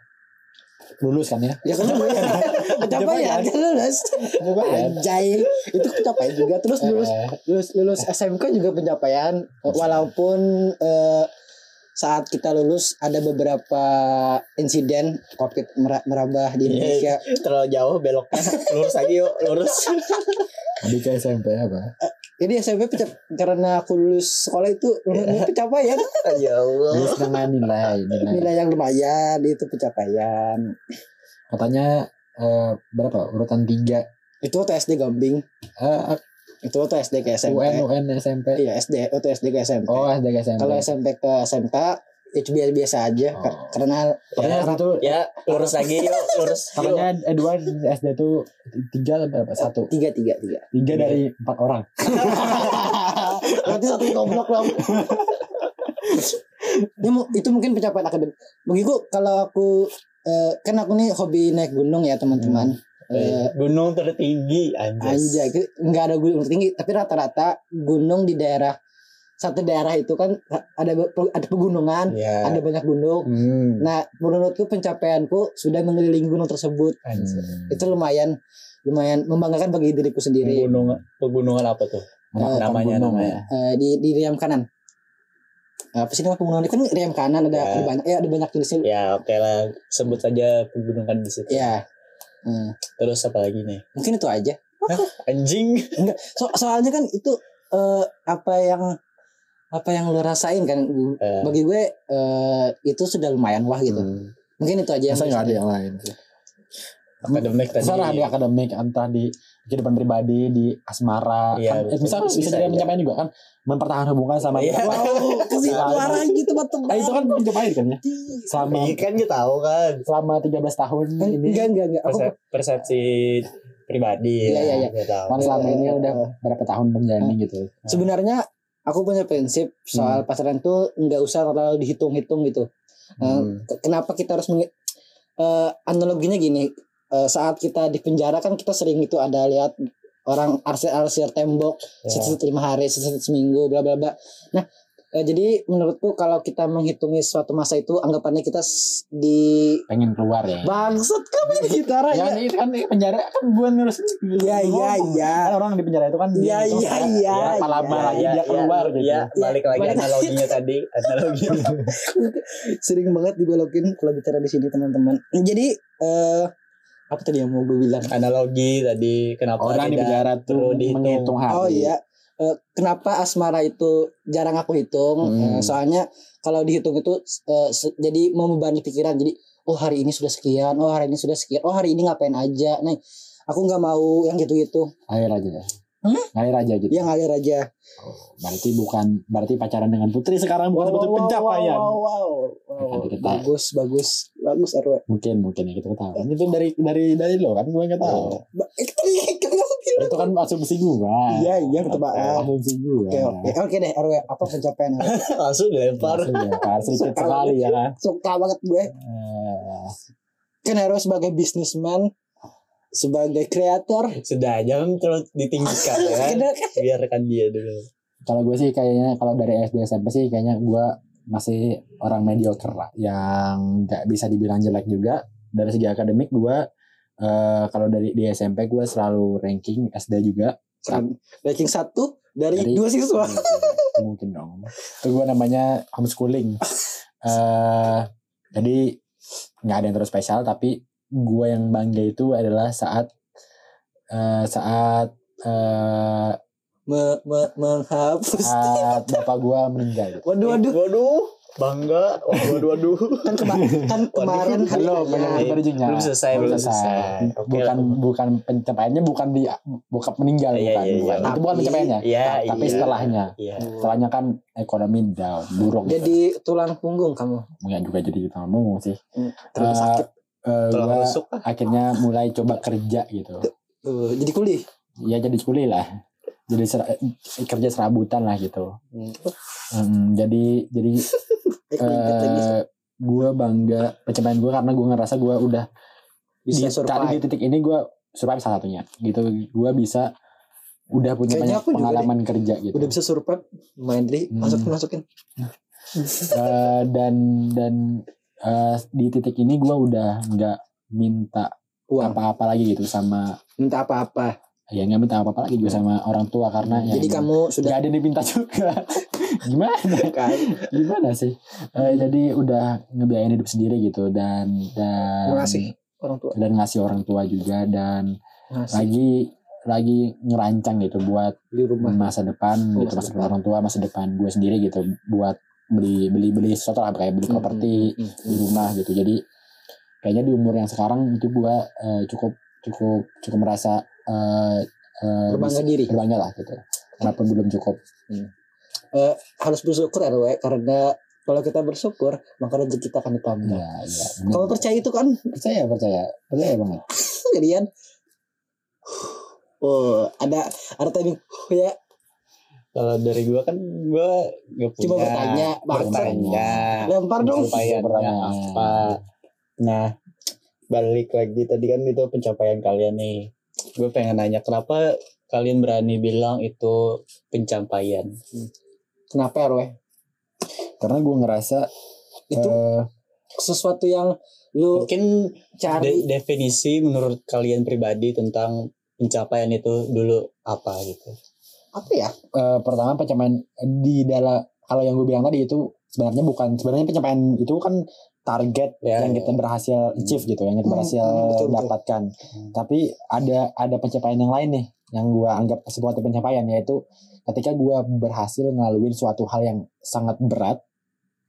Speaker 2: lulus kan
Speaker 3: Oh.
Speaker 2: ya.
Speaker 3: [LAUGHS]
Speaker 1: ya
Speaker 3: Iya.
Speaker 1: kan lulus ya. pencapaian
Speaker 2: Pencapaian.
Speaker 1: kan lulus
Speaker 2: Pencapaian.
Speaker 1: anjay itu pencapaian juga terus
Speaker 3: Iya.
Speaker 1: lulus
Speaker 2: Iya, kan? Eh,
Speaker 1: lulus lulus SMK juga pencapaian walaupun eh, saat kita lulus ada beberapa insiden covid mera- merabah di
Speaker 3: Iya.
Speaker 1: Indonesia
Speaker 3: Terlalu jauh beloknya. Lurus aja yuk, lurus.
Speaker 2: Di ke SMP apa?
Speaker 1: jadi SMP pencap- karena aku lulus sekolah itu
Speaker 3: Iya.
Speaker 1: [LAUGHS] pencapaian
Speaker 3: ya Allah.
Speaker 2: Lulus dengan nilai, nilai.
Speaker 1: nilai yang lumayan itu pencapaian
Speaker 2: Katanya eh, berapa? Urutan Eh, 3
Speaker 1: itu waktu SD gambing itu waktu SD ke SMP
Speaker 2: UN, UN, SMP.
Speaker 1: iya SD waktu SD ke SMP
Speaker 2: Oh, SD ke SMP.
Speaker 1: kalau SMP ke SMK itu biasa biasa ya aja
Speaker 2: Oh.
Speaker 1: kar- karena
Speaker 2: Katanya
Speaker 1: karena-
Speaker 2: itu
Speaker 3: Ya, lurus lagi yuk, lurus. yuk.
Speaker 2: katanya
Speaker 1: Iya.
Speaker 2: Edward SD tuh tiga atau berapa? Satu.
Speaker 1: tiga tiga tiga
Speaker 2: Tiga dari empat orang.
Speaker 1: berarti satu goblok dong Ini mu- itu mungkin pencapaian akademik begitu kalau aku eh, kan aku nih hobi naik gunung ya teman-teman Eh,
Speaker 3: Eh, Gunung tertinggi anjir.
Speaker 1: anjay gitu. ke- nggak ada gunung tinggi tapi rata-rata gunung di daerah satu daerah itu kan ra- ada be- ada pegunungan
Speaker 3: Ya.
Speaker 1: ada banyak gunung
Speaker 3: Hmm.
Speaker 1: Nah, menurutku pencapaianku sudah mengelilingi gunung tersebut.
Speaker 3: Anjir.
Speaker 1: Itu lumayan lumayan membanggakan bagi diriku sendiri.
Speaker 3: Pegunungan, pegunungan apa tuh?
Speaker 2: Anak-anak
Speaker 3: namanya,
Speaker 2: gunung
Speaker 3: namanya.
Speaker 1: Eh, di di riam kanan. Apa sih nama pegunungan? Kan riam kanan ada,
Speaker 3: Ya.
Speaker 1: ada banyak ya ada banyak jenisnya. Ya.
Speaker 3: Ya oke lah sebut saja pegunungan di situ.
Speaker 1: Hmm,
Speaker 3: Terus apa lagi nih?
Speaker 1: mungkin itu aja.
Speaker 3: Anjing.
Speaker 1: So, soalnya kan itu eh, apa yang apa yang lo rasain kan
Speaker 3: Eh,
Speaker 1: bagi gue eh, itu sudah lumayan wah gitu.
Speaker 2: Hmm.
Speaker 1: Mungkin itu aja yang
Speaker 2: Masa nggak ada yang lain sih?
Speaker 3: akademik tadi.
Speaker 2: Terserah di akademik, entah di kehidupan pribadi, di asmara.
Speaker 3: Iya,
Speaker 2: kan, eh,
Speaker 3: betul.
Speaker 2: bisa,
Speaker 3: Bisa
Speaker 2: bisa, jadi
Speaker 3: aja.
Speaker 2: pencapaian juga kan. Mempertahankan hubungan sama.
Speaker 3: Iya.
Speaker 2: [LAUGHS]
Speaker 1: Wow, kesini
Speaker 2: Nah,
Speaker 1: parah Oh, gitu
Speaker 2: Eh, itu
Speaker 1: teman-teman.
Speaker 2: kan pencapaian kan ya? Selama,
Speaker 3: Iya kan kita tahu kan
Speaker 2: selama 13 tahun ini.
Speaker 1: Kan Enggak enggak enggak. Aku
Speaker 3: Perse- persepsi pribadi.
Speaker 1: Iya, iya, iya.
Speaker 3: Kita tahu.
Speaker 2: Kan selama ini udah berapa tahun menjalani gitu.
Speaker 1: sebenarnya aku punya prinsip soal
Speaker 2: Hmm.
Speaker 1: pasaran tuh nggak usah terlalu dihitung-hitung gitu Eh,
Speaker 3: Hmm.
Speaker 1: ke- kenapa kita harus menge- eh, analoginya gini eh, saat kita di penjara kan kita sering itu ada lihat orang arsir-arsir tembok
Speaker 2: Ya.
Speaker 3: Iya.
Speaker 1: setelah lima hari setelah seminggu bla bla bla nah eh, jadi menurutku kalau kita menghitungi suatu masa itu anggapannya kita s- di
Speaker 2: pengen keluar
Speaker 1: Iya.
Speaker 2: ya
Speaker 1: bangsat kamu ini gitara
Speaker 2: ya
Speaker 1: ya
Speaker 2: ini kan di penjara kan gue nulis
Speaker 1: Iya, iya, iya.
Speaker 2: Kan orang di penjara itu kan dia
Speaker 1: Iya,
Speaker 2: ngitung
Speaker 1: iya,
Speaker 2: kayak,
Speaker 1: iya,
Speaker 2: ya, apa
Speaker 1: iya,
Speaker 2: lama lagi
Speaker 1: iya,
Speaker 2: dia keluar gitu
Speaker 3: ya, balik lagi
Speaker 1: Balik-
Speaker 3: analoginya tadi analoginya
Speaker 1: sering banget dibolokin kalau bicara di sini teman-teman jadi eh apa tadi yang mau gue bilang
Speaker 3: analogi tadi kenapa
Speaker 2: orang di
Speaker 3: tidak
Speaker 2: penjara tuh
Speaker 3: perlu dihitung.
Speaker 2: menghitung hari
Speaker 1: Oh iya, Eh, kenapa asmara itu jarang aku hitung? Eh,
Speaker 3: Hmm.
Speaker 1: soalnya kalau dihitung itu eh, se- jadi membebani pikiran. Jadi oh hari ini sudah sekian, oh hari ini sudah sekian, oh hari ini ngapain aja. Nih aku nggak mau yang gitu-gitu,
Speaker 2: ngalir aja ya
Speaker 1: Hmm?
Speaker 2: ngalir aja gitu
Speaker 1: yang ngalir aja.
Speaker 2: berarti bukan berarti pacaran dengan putri sekarang bukan putri Kan pencapaian
Speaker 1: wow, wow, wow, wow.
Speaker 2: Akan kita-
Speaker 1: bagus, bagus, bagus RW.
Speaker 2: mungkin mungkin ya kita tahu kan itu dari dari dari lo kan gue nggak tahu
Speaker 1: Ba- eh, tadi kan aku
Speaker 2: [LAUGHS]
Speaker 1: bilang.
Speaker 2: itu kan asumsi gue
Speaker 1: Iya, iya, ketebaan.
Speaker 2: asumsi gue
Speaker 1: Oke, oke, oke deh RW. Apa pencapaian? RW?
Speaker 3: langsung dilempar
Speaker 2: Langsung dilempar sedikit sekali ya kan
Speaker 1: Suka banget gue.
Speaker 2: Eh,
Speaker 1: Kan RW sebagai businessman, sebagai kreator.
Speaker 3: sudah jangan terus
Speaker 1: [LAUGHS]
Speaker 3: ditinggikan ya biarkan dia dulu
Speaker 2: kalau gue sih kayaknya kalau dari SD SMP sih kayaknya gue masih orang mediocre lah yang nggak bisa dibilang jelek juga dari segi akademik gue eh kalau dari di SMP gue selalu ranking SD juga
Speaker 1: Keren. Ranking satu dari,
Speaker 2: Dari-
Speaker 1: dua
Speaker 2: [LAUGHS]
Speaker 1: siswa.
Speaker 2: Iya, mungkin dong itu gue namanya
Speaker 3: [LAUGHS]
Speaker 2: homeschooling eh jadi nggak ada yang terlalu spesial tapi gue yang bangga itu adalah saat eh saat eh
Speaker 1: Me- me- menghapus.
Speaker 2: saat bapak gue meninggal
Speaker 1: Waduh, waduh.
Speaker 3: waduh bangga Wah, waduh waduh
Speaker 1: Kan, kema- kan kemarin hari
Speaker 3: Belum,
Speaker 1: Raya.
Speaker 3: belum. Belum selesai, belum selesai. Oke,
Speaker 2: Ya, bukan
Speaker 3: lah.
Speaker 2: bukan pencapaiannya bukan di bukan meninggal
Speaker 3: Iya,
Speaker 2: bukan,
Speaker 3: iya,
Speaker 2: bukan.
Speaker 3: iya.
Speaker 2: itu bukan
Speaker 1: Tapi-
Speaker 2: pencapaiannya.
Speaker 3: Iya,
Speaker 2: Ta- tapi
Speaker 3: iya.
Speaker 2: setelahnya,
Speaker 3: iya
Speaker 2: setelahnya kan ekonomi down, buruk.
Speaker 1: Jadi tulang punggung kamu.
Speaker 2: nggak juga jadi tamu sih.
Speaker 1: Terlalu
Speaker 2: Eh,
Speaker 1: sakit.
Speaker 2: eh,
Speaker 3: Tolong
Speaker 2: gua
Speaker 3: rusuk lah.
Speaker 2: akhirnya mulai coba kerja gitu.
Speaker 1: Tuh, jadi kuli.
Speaker 2: Ya jadi kuliah lah. Jadi ser- eh, kerja serabutan lah gitu. Mm, jadi
Speaker 1: [LAUGHS]
Speaker 2: jadi
Speaker 1: Eh, keinget lagi.
Speaker 2: eh, gue bangga pencapaian gue karena gue ngerasa gue udah
Speaker 1: Bisa
Speaker 2: di, tadi di
Speaker 1: survive.
Speaker 2: titik ini gue survive salah satunya gitu gue bisa udah punya
Speaker 1: Kayaknya
Speaker 2: banyak
Speaker 1: aku juga
Speaker 2: pengalaman kerja gitu
Speaker 1: Udah bisa survive. Main deh.
Speaker 2: Hmm.
Speaker 1: Masukin, masukin.
Speaker 2: Eh, dan dan eh, di titik ini gue udah nggak minta
Speaker 1: Uang.
Speaker 2: apa-apa lagi gitu sama
Speaker 1: Minta apa-apa.
Speaker 2: ya nggak minta apa-apa lagi juga sama orang tua karena ya
Speaker 1: Jadi kamu
Speaker 2: nggak
Speaker 1: sudah
Speaker 2: ada yang diminta juga [LAUGHS] gimana
Speaker 1: kan
Speaker 2: gimana sih Eh, jadi udah ngebiayain hidup sendiri gitu dan dan
Speaker 1: Mengasih. orang tua.
Speaker 2: dan ngasih orang tua juga dan
Speaker 1: Ngasih.
Speaker 2: lagi lagi ngerancang gitu buat
Speaker 1: Beli rumah.
Speaker 2: masa depan
Speaker 1: Oh,
Speaker 2: gitu
Speaker 1: masa
Speaker 2: masa depan
Speaker 1: depan.
Speaker 2: orang tua masa depan gue sendiri gitu buat beli beli beli sesuatu lah kayak beli properti
Speaker 1: Hmm, hmm,
Speaker 2: beli
Speaker 1: hmm.
Speaker 2: rumah gitu jadi kayaknya di umur yang sekarang itu gue eh, cukup cukup cukup merasa eh, eh,
Speaker 1: Berbangga
Speaker 2: bisa-
Speaker 1: diri.
Speaker 2: berbangga lah gitu walaupun belum cukup
Speaker 1: Harus bersyukur RW. Karena kalau kita bersyukur. Maka rezeki kita akan ditambah.
Speaker 2: ya, ya.
Speaker 1: Kamu
Speaker 2: Ini-
Speaker 1: percaya itu kan?
Speaker 2: percaya percaya percaya banget
Speaker 1: kalian kan, oh ada ada timing ya
Speaker 3: kalau dari gua kan gua nggak punya
Speaker 1: Coba bertanya, Bang.
Speaker 3: Iya, bertanya Iya.
Speaker 1: lempar dong
Speaker 3: pencapaiannya
Speaker 2: Pertanyaan.
Speaker 3: apa nah balik lagi tadi kan itu pencapaian kalian nih gue pengen nanya kenapa kalian berani bilang itu pencapaian
Speaker 1: kenapa ya Roy
Speaker 2: karena gue ngerasa
Speaker 1: itu
Speaker 2: eh,
Speaker 1: sesuatu yang lu
Speaker 3: mungkin de-
Speaker 1: cari
Speaker 3: definisi menurut kalian pribadi tentang pencapaian itu dulu apa gitu
Speaker 1: apa ya
Speaker 2: eh, pertama pencapaian di dalam kalau yang gue bilang tadi itu sebenarnya bukan sebenarnya pencapaian itu kan target
Speaker 3: ya
Speaker 2: yang kita berhasil achieve gitu yang
Speaker 1: Iya,
Speaker 2: kita
Speaker 1: Hmm,
Speaker 2: berhasil
Speaker 1: hmm, betul, Hmm. betul.
Speaker 2: dapatkan tapi ada ada pencapaian yang lain nih yang gua anggap sebuah pencapaian yaitu ketika gua berhasil ngaluin suatu hal yang sangat berat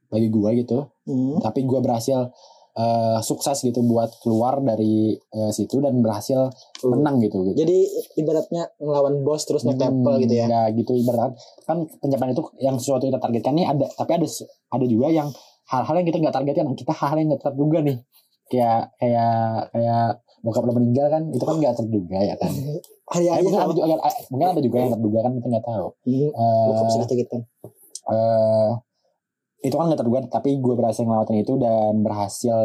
Speaker 2: bagi gua gitu
Speaker 1: hmm.
Speaker 2: tapi gua berhasil eh, sukses gitu buat keluar dari eh, situ dan berhasil menang gitu gitu
Speaker 1: jadi ibaratnya ngelawan bos terus naik
Speaker 2: Hmm,
Speaker 1: level
Speaker 2: [LAUGHS]
Speaker 1: gitu ya
Speaker 2: nggak gitu ibarat kan pencapaian itu yang sesuatu yang kita targetkan nih ada tapi ada se- ada juga yang hal-hal yang kita nggak targetkan kita hal-hal yang nggak terduga nih kayak kayak kayak bokap lo meninggal kan itu kan nggak terduga ya kan
Speaker 1: hari
Speaker 2: Eh,
Speaker 1: aja iya,
Speaker 2: mungkin, ada
Speaker 1: sama Iya,
Speaker 2: juga, mungkin ada juga yang terduga kan kita nggak tahu Eh,
Speaker 1: bokap sakit sakitan
Speaker 2: eh, itu kan nggak terduga tapi gue berhasil ngelawatin itu dan berhasil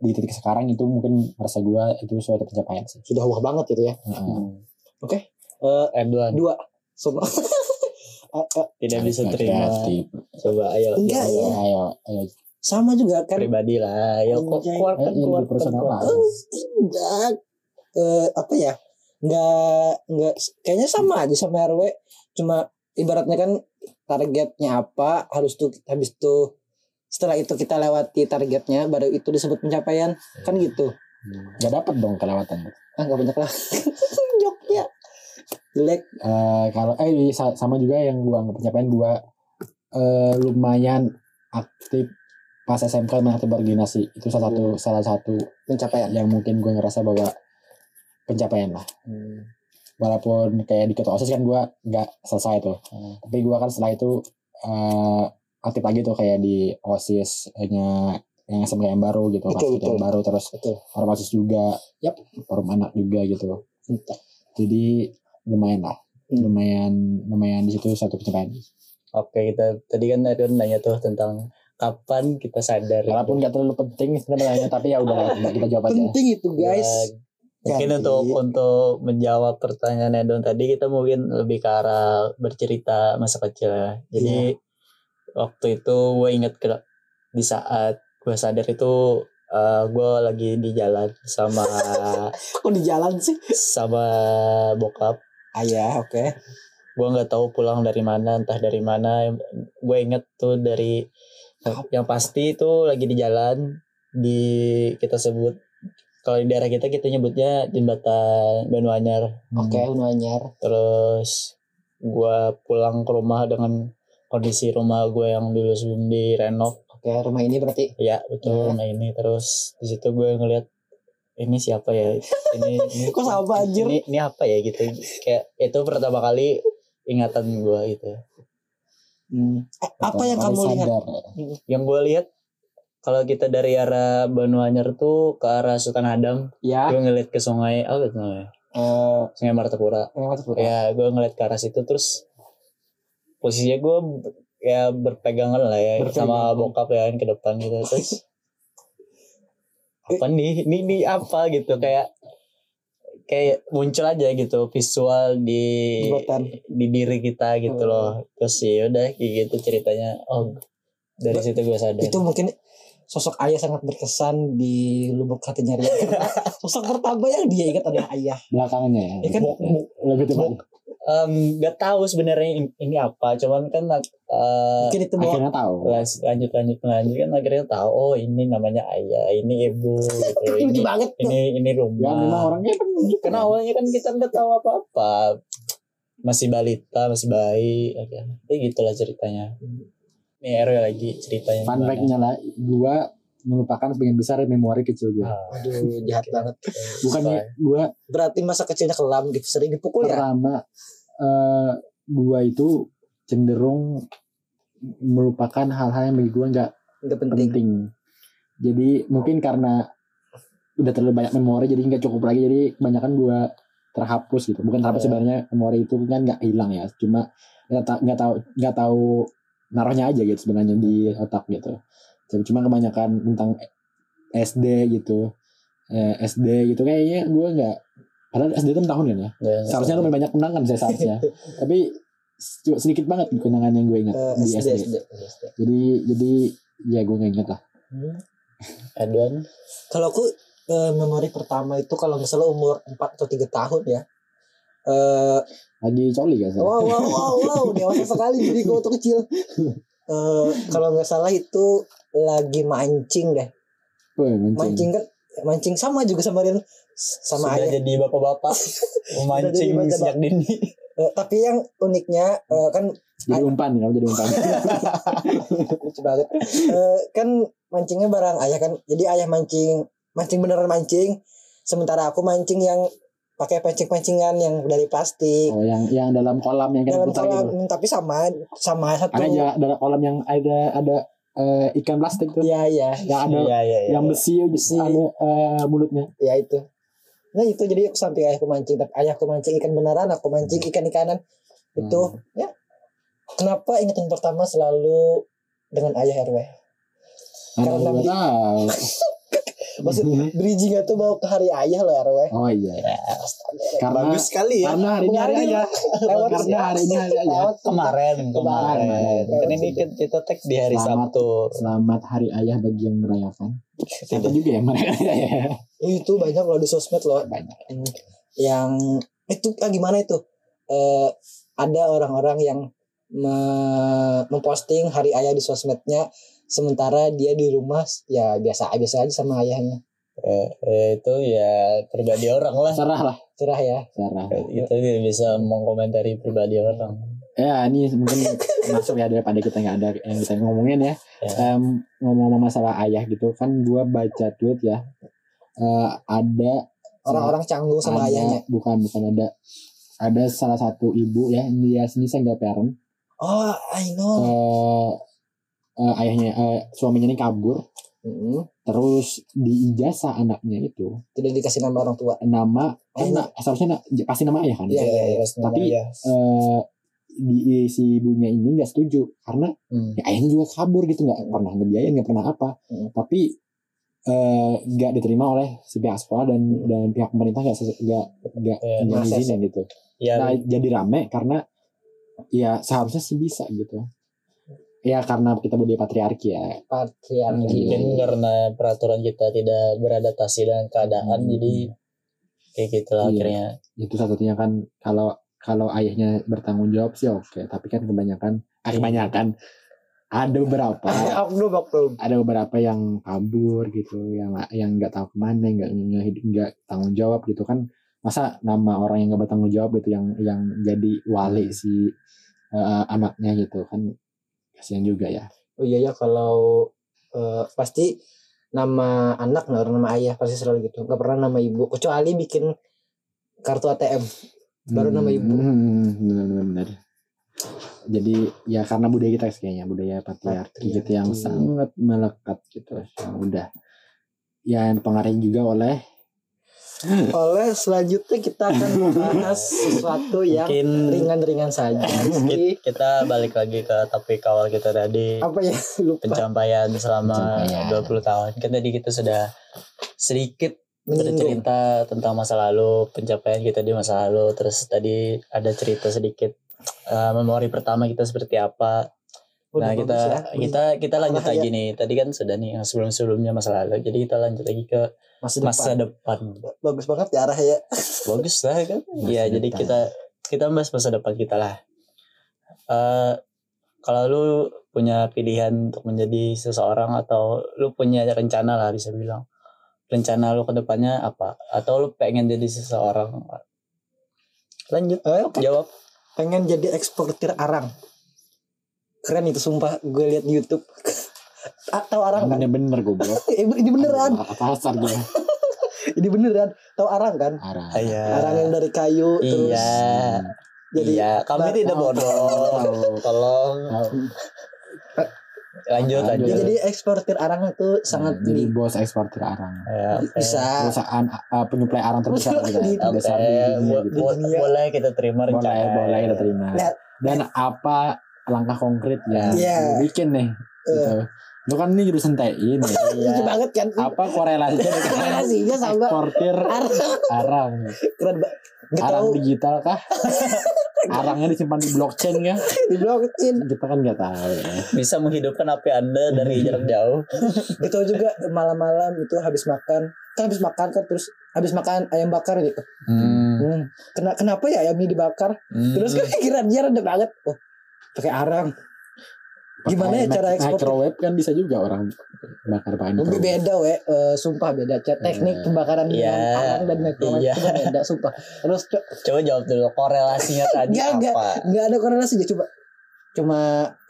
Speaker 2: di titik sekarang itu mungkin merasa gue itu suatu pencapaian sih Hmm.
Speaker 1: sudah wah banget gitu ya
Speaker 2: Heeh.
Speaker 3: Eh, Edwan
Speaker 1: dua Sono. [LAUGHS] Eh, eh,
Speaker 3: tidak bisa
Speaker 2: Nggak
Speaker 3: terima.
Speaker 2: kreatif.
Speaker 3: Coba ayo.
Speaker 1: Enggak,
Speaker 3: ayo,
Speaker 1: iya.
Speaker 2: ayo ayo, ayo Eh,
Speaker 1: sama juga kan
Speaker 3: Pribadi lah. Ayo ku-
Speaker 1: Anjay.
Speaker 3: keluarkan
Speaker 2: ini
Speaker 3: keluarkan.
Speaker 2: personal lah
Speaker 3: keluarkan.
Speaker 1: Eh, tidak Eh, apa ya nggak nggak kayaknya sama aja sama RW cuma ibaratnya kan targetnya apa harus tuh habis tuh setelah itu kita lewati targetnya baru itu disebut pencapaian kan gitu
Speaker 2: Hmm. nggak dapet dong Eh, kelewatan
Speaker 1: ah nggak banyak lah joknya jelek
Speaker 2: Eh, kalau eh iya, sa- sama juga yang gua anggap pencapaian gua eh, lumayan aktif pas SMK main aktif berorganisasi itu salah satu
Speaker 1: Iya.
Speaker 2: salah satu
Speaker 1: pencapaian
Speaker 2: yang mungkin gua ngerasa bahwa pencapaian lah
Speaker 1: Hmm.
Speaker 2: walaupun kayak di ketua osis kan gua nggak selesai tuh
Speaker 3: Hmm.
Speaker 2: tapi gua kan setelah itu eh, aktif lagi tuh kayak di osisnya yang SMK yang baru gitu
Speaker 1: Betul,
Speaker 2: Paskibra yang
Speaker 1: betul.
Speaker 2: baru terus
Speaker 1: Betul.
Speaker 2: forum osis juga
Speaker 1: Yap.
Speaker 2: forum anak juga gitu
Speaker 1: Entah.
Speaker 2: jadi lumayan lah
Speaker 1: Hmm.
Speaker 2: lumayan lumayan di situ satu pencapaian
Speaker 3: Oke kita tadi kan Edwan nanya tuh tentang kapan kita
Speaker 1: Iya.
Speaker 3: sadar.
Speaker 2: walaupun nggak terlalu penting sebenarnya tapi ya
Speaker 1: [LAUGHS]
Speaker 2: udah nggak kita jawab aja
Speaker 1: penting itu guys
Speaker 3: Ya, mungkin
Speaker 1: Ganti.
Speaker 3: untuk untuk menjawab pertanyaan Edwan tadi kita mungkin lebih ke arah bercerita masa kecil ya. Jadi
Speaker 1: Iya.
Speaker 3: waktu itu gue inget ke di saat gue sadar itu eh, gue lagi di jalan sama
Speaker 1: [LAUGHS]
Speaker 3: [LAUGHS]
Speaker 1: kok di jalan sih
Speaker 3: sama bokap
Speaker 1: ayah oke
Speaker 3: gue nggak tahu pulang dari mana entah dari mana gue inget tuh dari yang pasti itu lagi di jalan di kita sebut kalau di daerah kita kita nyebutnya jembatan Banuanyar
Speaker 1: oke Unu Anyar.
Speaker 3: terus gue pulang ke rumah dengan kondisi rumah gue yang dulu sebelum direnov
Speaker 1: oke rumah ini berarti
Speaker 3: ya
Speaker 1: Iya.
Speaker 3: betul nah ini terus di situ gue ngeliat ini siapa ya ini, ini
Speaker 1: [LAUGHS] [LAUGHS] Kok sama, anjir?
Speaker 3: ini, ini apa ya gitu kayak itu pertama kali ingatan gue gitu
Speaker 1: Hmm. Eh, apa yang kamu
Speaker 2: Pertama kali
Speaker 1: lihat
Speaker 2: sadar.
Speaker 3: yang gue lihat kalau kita dari arah Banuanyar tuh ke arah Sultan Adam,
Speaker 1: ya
Speaker 3: gue ngeliat ke sungai, apa itu namanya?
Speaker 1: eh
Speaker 3: Sungai Martapura.
Speaker 1: yang masuk surga.
Speaker 3: Ya, gue ngeliat ke arah situ terus posisinya gue ya berpegangan lah ya
Speaker 1: Berpegangan.
Speaker 3: sama bokap ya kan ke depan gitu terus apa nih ini ini apa gitu kayak kayak muncul aja gitu visual di
Speaker 1: Jembatan.
Speaker 3: di diri kita gitu
Speaker 1: Hmm.
Speaker 3: loh terus ya udah kayak gitu ceritanya oh dari
Speaker 1: Ba-
Speaker 3: situ gue sadar
Speaker 1: itu mungkin sosok ayah sangat berkesan di lubuk hatinya [LAUGHS] Rian Karena sosok pertama yang dia ingat adalah ayah
Speaker 2: belakangnya ya,
Speaker 1: ya kan
Speaker 2: lebih tepat
Speaker 3: Em, nggak tahu sebenarnya in- ini apa cuman kan eh,
Speaker 1: mungkin itu mau
Speaker 2: akhirnya tahu
Speaker 3: las- lanjut lanjut lanjut kan akhirnya tahu oh ini namanya ayah ini ibu gitu.
Speaker 2: [LAUGHS]
Speaker 1: [LAUGHS] lucu
Speaker 3: ini
Speaker 1: banget tuh
Speaker 3: ini ini
Speaker 2: ya memang
Speaker 3: rumah
Speaker 2: orangnya kan gitu
Speaker 3: karena awalnya kan kita nggak tahu apa apa masih balita masih bayi ya gitulah ceritanya nih Ero lagi ceritanya
Speaker 2: fun
Speaker 3: gimana?
Speaker 2: fact-nya lah gua melupakan sebagian besar memori kecil gua
Speaker 3: Ah,
Speaker 1: aduh jahat banget
Speaker 2: bukan
Speaker 3: sorry.
Speaker 1: ya.
Speaker 2: gua
Speaker 1: berarti masa kecilnya kelam gitu sering dipukul ya
Speaker 2: pertama eh gua itu cenderung melupakan hal-hal yang bagi gua nggak
Speaker 1: nggak penting
Speaker 2: penting. Jadi mungkin karena udah terlalu banyak memori jadi nggak cukup lagi jadi kebanyakan gua terhapus gitu. Bukan terhapus
Speaker 3: Iya.
Speaker 2: sebenarnya memori itu kan nggak hilang ya, cuma nggak tahu nggak tahu nggak tahu naruhnya aja gitu sebenarnya di otak gitu. Jadi cuma kebanyakan tentang SD gitu. Eh, SD gitu kayaknya gua nggak padahal SD itu 6 tahun kan ya.
Speaker 3: Ya,
Speaker 2: Seharusnya lebih banyak kenangan saya seharusnya. Tapi sedikit banget kenangan yang gue ingat
Speaker 1: Eh,
Speaker 2: di
Speaker 1: SD,
Speaker 2: SD.
Speaker 1: SD.
Speaker 2: Jadi jadi ya gue nggak inget lah.
Speaker 3: Edwan
Speaker 1: Hmm. kalau aku eh, memori pertama itu kalau misalnya umur 4 atau 3 tahun ya eh
Speaker 2: lagi coli gak sih?
Speaker 1: wow wow wow [LAUGHS] wow dewasa sekali jadi gue waktu kecil Eh kalau nggak salah itu lagi mancing deh
Speaker 2: Woi,
Speaker 1: mancing
Speaker 2: mancing.
Speaker 1: kan mancing sama juga sama Rian S- sama
Speaker 3: sudah
Speaker 1: ayah
Speaker 3: jadi
Speaker 2: [LAUGHS]
Speaker 3: bapak-bapak memancing
Speaker 1: bapak-bapak.
Speaker 3: sejak dini
Speaker 1: Eh, tapi yang uniknya eh, kan
Speaker 2: Jadi umpan, kamu jadi
Speaker 1: [LAUGHS]
Speaker 2: umpan.
Speaker 1: lucu banget Eh, kan mancingnya barang ayah kan jadi ayah mancing mancing beneran mancing sementara aku mancing yang pakai pancing pancingan yang dari plastik
Speaker 2: oh, yang yang dalam kolam yang kita
Speaker 1: dalam
Speaker 2: putar gitu.
Speaker 1: kolam tapi sama sama satu
Speaker 2: Ada aja ada kolam yang ada ada eh, ikan plastik tuh.
Speaker 1: ya ya
Speaker 2: Yang ada
Speaker 3: ya, ya, ya,
Speaker 2: yang
Speaker 3: ya.
Speaker 2: besi, besi. ada eh, mulutnya.
Speaker 1: ya itu nah itu jadi aku sampai ayahku mancing tapi ayahku mancing ikan beneran aku mancing
Speaker 2: Hmm.
Speaker 1: ikan ikanan itu ya kenapa ingatan pertama selalu dengan ayah RW
Speaker 2: Karena
Speaker 1: Karena
Speaker 2: gua
Speaker 1: di-
Speaker 2: tahu.
Speaker 1: maksud
Speaker 2: Hmm.
Speaker 1: bridging itu mau ke hari ayah loh RW
Speaker 2: [LAUGHS] Oh iya. Karena
Speaker 4: Bagus sekali ya.
Speaker 2: karena hari ini hari
Speaker 1: Kemarin
Speaker 2: ayah.
Speaker 1: Iya, lewat
Speaker 2: Karena hari ini hari ayah.
Speaker 1: lewat
Speaker 3: Iya, Kemarin,
Speaker 1: Kemarin.
Speaker 3: kemarin. Kan ini kan kita tag di hari
Speaker 2: Selamat.
Speaker 3: Sabtu.
Speaker 2: Selamat hari ayah bagi yang merayakan. Siapa juga ya merayakan? [LAUGHS]
Speaker 1: Iya, itu banyak loh di sosmed loh
Speaker 2: Banyak.
Speaker 1: yang itu ah, gimana itu Eh, ada orang-orang yang me- memposting hari ayah di sosmednya sementara dia di rumah ya biasa biasa aja sama ayahnya
Speaker 3: Eh, eh, itu ya pribadi orang lah.
Speaker 2: Serah lah,
Speaker 1: cerah ya
Speaker 2: serah.
Speaker 3: Kita tidak bisa mengkomentari pribadi orang.
Speaker 2: ya ini mungkin masuk ya daripada kita nggak ada yang kita ngomongin ya
Speaker 3: Ya.
Speaker 2: Em, ngomong-ngomong masalah ayah gitu kan gua baca tweet ya Eh, ada
Speaker 1: orang-orang canggung sama
Speaker 2: ada-
Speaker 1: ayahnya
Speaker 2: bukan bukan ada ada salah satu ibu ya dia ini single parent
Speaker 1: oh I know
Speaker 2: Eh,
Speaker 1: Oh.
Speaker 2: eh, ayahnya eh, suaminya ini kabur
Speaker 1: Mm-mm.
Speaker 2: terus di ijazah anaknya itu
Speaker 1: Mm-hmm. tidak dikasih nama orang tua
Speaker 2: nama
Speaker 1: Oh,
Speaker 2: eh, na- seharusnya na- pasti nama ayah kan
Speaker 1: Iya, iya, iya.
Speaker 2: Tapi, Eh, di si ibunya ini nggak setuju karena
Speaker 3: Hmm.
Speaker 2: ya ayahnya juga kabur gitu nggak pernah ngebiayain nggak pernah apa
Speaker 1: Hmm.
Speaker 2: tapi eh, nggak diterima oleh si pihak sekolah dan dan pihak pemerintah nggak ses- nggak nggak
Speaker 3: Iya,
Speaker 2: nggak
Speaker 1: Hmm. proses.
Speaker 2: izinin gitu
Speaker 3: Ya,
Speaker 2: nah jadi rame karena ya seharusnya sih bisa gitu ya karena kita budaya patriarki ya
Speaker 1: patriarki
Speaker 3: mungkin karena peraturan kita tidak beradaptasi dengan keadaan
Speaker 2: Hmm.
Speaker 3: jadi kayak gitu lah
Speaker 2: Iya.
Speaker 3: akhirnya
Speaker 2: itu satu-satunya kan kalau kalau ayahnya bertanggung jawab sih oke tapi kan kebanyakan ah, kebanyakan ada beberapa
Speaker 1: oknum oknum
Speaker 2: ada beberapa yang kabur gitu yang yang nggak tahu kemana nggak nggak nggak tanggung jawab gitu kan masa nama orang yang nggak bertanggung jawab gitu yang yang jadi wali si eh, anaknya gitu kan kasihan juga ya
Speaker 1: oh iya ya kalau eh, pasti nama anak nggak pernah nama ayah pasti selalu gitu nggak pernah nama ibu kecuali bikin kartu ATM Baru nama ibu.
Speaker 2: Hmm, benar benar, benar. jadi ya karena budaya kita kayaknya budaya patriarki gitu yang
Speaker 1: Patriarki.
Speaker 2: sangat melekat gitu ya udah ya pengaruh juga oleh
Speaker 1: oleh selanjutnya kita akan membahas
Speaker 3: [LAUGHS]
Speaker 1: sesuatu yang
Speaker 3: mungkin
Speaker 1: ringan-ringan
Speaker 3: [LAUGHS]
Speaker 1: saja Rizky.
Speaker 3: kita balik lagi ke topik awal kita tadi
Speaker 1: apa ya [LAUGHS] lupa
Speaker 3: pencapaian selama
Speaker 2: Pencapaian.
Speaker 3: 20 tahun kan tadi kita sudah sedikit
Speaker 1: menyinggung
Speaker 3: bercerita tentang masa lalu pencapaian kita di masa lalu terus tadi ada cerita sedikit eh, memori pertama kita seperti apa
Speaker 1: Udah
Speaker 3: nah kita
Speaker 1: bagus ya.
Speaker 3: kita kita lanjut
Speaker 1: Bahaya.
Speaker 3: lagi nih tadi kan sudah nih yang sebelum sebelumnya masa lalu jadi kita lanjut lagi ke
Speaker 1: masa depan
Speaker 3: masa depan
Speaker 1: bagus banget ya arah ya
Speaker 3: bagus lah kan
Speaker 2: Masa
Speaker 3: ya jadi
Speaker 2: depan.
Speaker 3: kita kita bahas masa depan kita lah Eh kalau lu punya pilihan untuk menjadi seseorang atau lu punya rencana lah bisa bilang rencana lu ke depannya apa atau lu pengen jadi seseorang lanjut
Speaker 1: Eh, oke.
Speaker 3: jawab
Speaker 1: pengen jadi eksportir arang keren itu sumpah gue lihat di YouTube [LAUGHS] atau arang kan
Speaker 2: bener-bener gue
Speaker 1: Eh, ini beneran
Speaker 2: apa asal gue
Speaker 1: ini beneran tahu arang kan
Speaker 2: arah
Speaker 1: arang yang dari kayu terus
Speaker 3: iya
Speaker 1: jadi
Speaker 3: iya kami
Speaker 1: Nah,
Speaker 3: tidak
Speaker 2: Oh,
Speaker 3: bodoh
Speaker 2: [LAUGHS]
Speaker 3: tolong lanjut
Speaker 2: Lanjut.
Speaker 1: ya,
Speaker 3: lanjut
Speaker 1: jadi eksportir arang itu
Speaker 3: Iya,
Speaker 1: sangat
Speaker 2: jadi
Speaker 1: di-
Speaker 2: bos eksportir arang
Speaker 3: Ya, oke.
Speaker 1: bisa
Speaker 2: perusahaan uh, penyuplai arang terbesar
Speaker 1: Betul,
Speaker 2: juga
Speaker 1: di-
Speaker 2: terbesar di
Speaker 3: Oke,
Speaker 2: dunia
Speaker 3: bo-
Speaker 2: gitu.
Speaker 3: bo-
Speaker 1: Dunia.
Speaker 3: boleh kita terima
Speaker 2: boleh
Speaker 3: rencana
Speaker 2: boleh kita terima
Speaker 1: Lihat.
Speaker 2: dan apa langkah konkret yang
Speaker 1: Iya.
Speaker 2: lu bikin nih gitu lu kan ini jurusan TI nih
Speaker 1: eh,
Speaker 3: gitu. Iya.
Speaker 1: lucu banget kan
Speaker 2: apa korelasinya dengan
Speaker 1: korelasinya sama
Speaker 2: eksportir
Speaker 1: arang
Speaker 2: arang
Speaker 1: keren banget nggak
Speaker 2: arang
Speaker 1: tahu
Speaker 2: digital
Speaker 1: [LAUGHS]
Speaker 2: kah arangnya disimpan di blockchain kah
Speaker 1: di blockchain
Speaker 2: kita kan nggak tahu ya.
Speaker 3: bisa menghidupkan HP Anda dari jarak jauh.
Speaker 1: Gak tahu juga malam-malam itu habis makan kan habis makan kan terus habis makan ayam bakar gitu hmm. Kena, kenapa ya ayamnya dibakar
Speaker 3: Hmm.
Speaker 1: terus kan- kepikiran dia rada banget oh pakai arang Gimana ya
Speaker 2: Pakai
Speaker 1: cara
Speaker 2: mic-
Speaker 1: eksportir?
Speaker 2: microwave kan bisa juga orang bakar pakai
Speaker 3: Hmm.
Speaker 1: lebih
Speaker 2: microwave.
Speaker 1: beda we Eh, sumpah beda Cek, teknik pembakaran
Speaker 3: Iya.
Speaker 1: dengan arang dan microwave
Speaker 3: Iya.
Speaker 1: itu beda sumpah terus co-
Speaker 3: Coba jawab dulu korelasinya tadi
Speaker 1: Nggak, nggak.
Speaker 3: apa?
Speaker 1: nggak ada korelasi ya coba cuma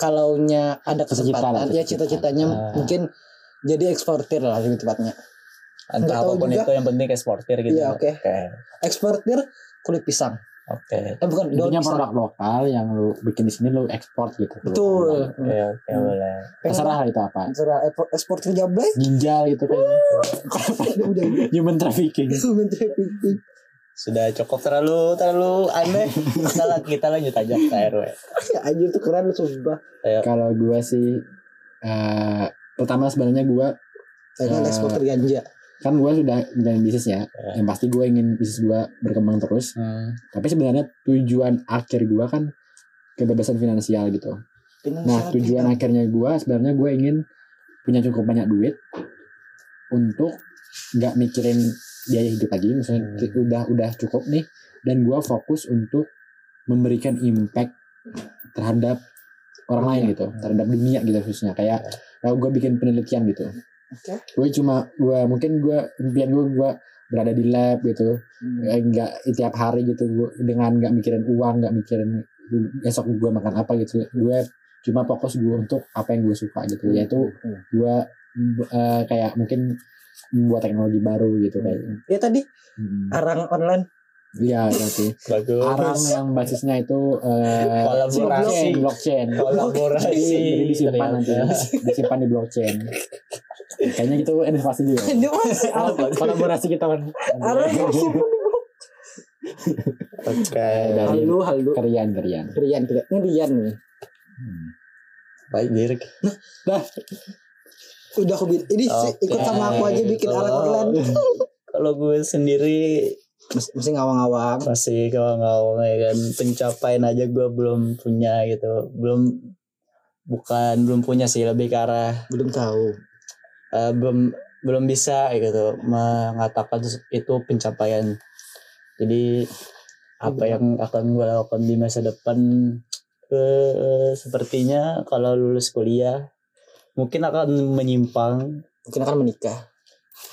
Speaker 1: kalaunya ada
Speaker 2: Cita-cita lah,
Speaker 1: kesempatan ya
Speaker 2: cita-cita.
Speaker 1: cita-citanya
Speaker 3: Ah.
Speaker 1: mungkin jadi eksportir lah lebih tepatnya
Speaker 3: Entah
Speaker 1: Nggak tahu
Speaker 3: apapun
Speaker 1: juga.
Speaker 3: itu yang penting eksportir gitu.
Speaker 1: Iya, oke. eksportir kulit pisang
Speaker 3: Oke.
Speaker 1: Eh bukan daun
Speaker 2: Intinya
Speaker 1: pisang.
Speaker 2: produk lokal yang lu bikin di sini lu ekspor gitu. ke luar
Speaker 1: Betul.
Speaker 2: negeri.
Speaker 3: Oke, oke,
Speaker 1: Hmm.
Speaker 3: boleh.
Speaker 2: Terserah lah itu apa.
Speaker 1: Terserah ekspor- ekspor ke Jablay. [LAUGHS]
Speaker 2: Ginjal gitu kayaknya.
Speaker 1: Udah
Speaker 2: [LAUGHS] Human trafficking.
Speaker 1: menteri pikir.
Speaker 3: Sudah cukup terlalu terlalu aneh. Salah kita lanjut aja ke RW.
Speaker 1: Ya anjir tuh keren sumpah.
Speaker 2: Kalau gua sih eh pertama sebenarnya gua
Speaker 1: Pengen
Speaker 2: Eh,
Speaker 1: ekspor ganja.
Speaker 2: kan gua sudah menjalin bisnis ya.
Speaker 3: Ya.
Speaker 2: Yang pasti gua ingin bisnis gua berkembang terus.
Speaker 3: Hmm.
Speaker 2: Tapi sebenarnya tujuan akhir gua kan kebebasan finansial gitu. Nah tujuan akhirnya gue sebenarnya gue ingin punya cukup banyak duit untuk nggak mikirin biaya hidup lagi, misalnya
Speaker 3: Hmm.
Speaker 2: ki- udah udah cukup nih, dan gue fokus untuk memberikan impact terhadap orang lain gitu, terhadap dunia gitu khususnya kayak kalau gue bikin penelitian gitu,
Speaker 1: Oke.
Speaker 2: gue cuma gue mungkin gue impian gue gue berada di lab gitu,
Speaker 1: Hmm.
Speaker 2: Eh, nggak tiap hari gitu gua, dengan nggak mikirin uang nggak mikirin besok gue makan apa gitu gue cuma fokus gue untuk apa yang gue suka gitu yaitu
Speaker 3: Hmm.
Speaker 2: gue eh, kayak mungkin membuat teknologi baru gitu kayak
Speaker 1: Ya tadi
Speaker 2: Hmm.
Speaker 1: arang
Speaker 2: [LAUGHS]
Speaker 1: online
Speaker 2: Iya, nanti
Speaker 3: Bagus.
Speaker 2: arang yang basisnya itu eh,
Speaker 3: Kolaborasi.
Speaker 2: blockchain, blockchain. Jadi,
Speaker 3: [LAUGHS] kolaborasi
Speaker 2: jadi disimpan nanti,
Speaker 3: ternyata.
Speaker 2: disimpan di blockchain. Kayaknya gitu inovasi juga.
Speaker 1: Ini mas
Speaker 2: Kolaborasi kita kan. [LAUGHS]
Speaker 1: Arang
Speaker 3: Oke.
Speaker 2: Dari
Speaker 1: Halu halu
Speaker 2: kerian kerian.
Speaker 1: Rian kita Ini Rian nih
Speaker 3: Baik, Dirk.
Speaker 1: Udah aku bikin Ini sih,
Speaker 3: Oke.
Speaker 1: ikut sama aku aja bikin
Speaker 3: Kalau-
Speaker 1: arang online
Speaker 3: Kalau gue sendiri
Speaker 1: Mas- Masih ngawang-ngawang
Speaker 3: masih ngawang-ngawang ya kan pencapaian aja gue belum punya gitu belum bukan belum punya sih lebih ke arah
Speaker 1: Belum tahu
Speaker 3: eh, belum belum bisa gitu mengatakan itu pencapaian jadi apa yang akan gue lakukan di masa depan eh, sepertinya kalau lulus kuliah mungkin akan menyimpang
Speaker 1: Mungkin akan menikah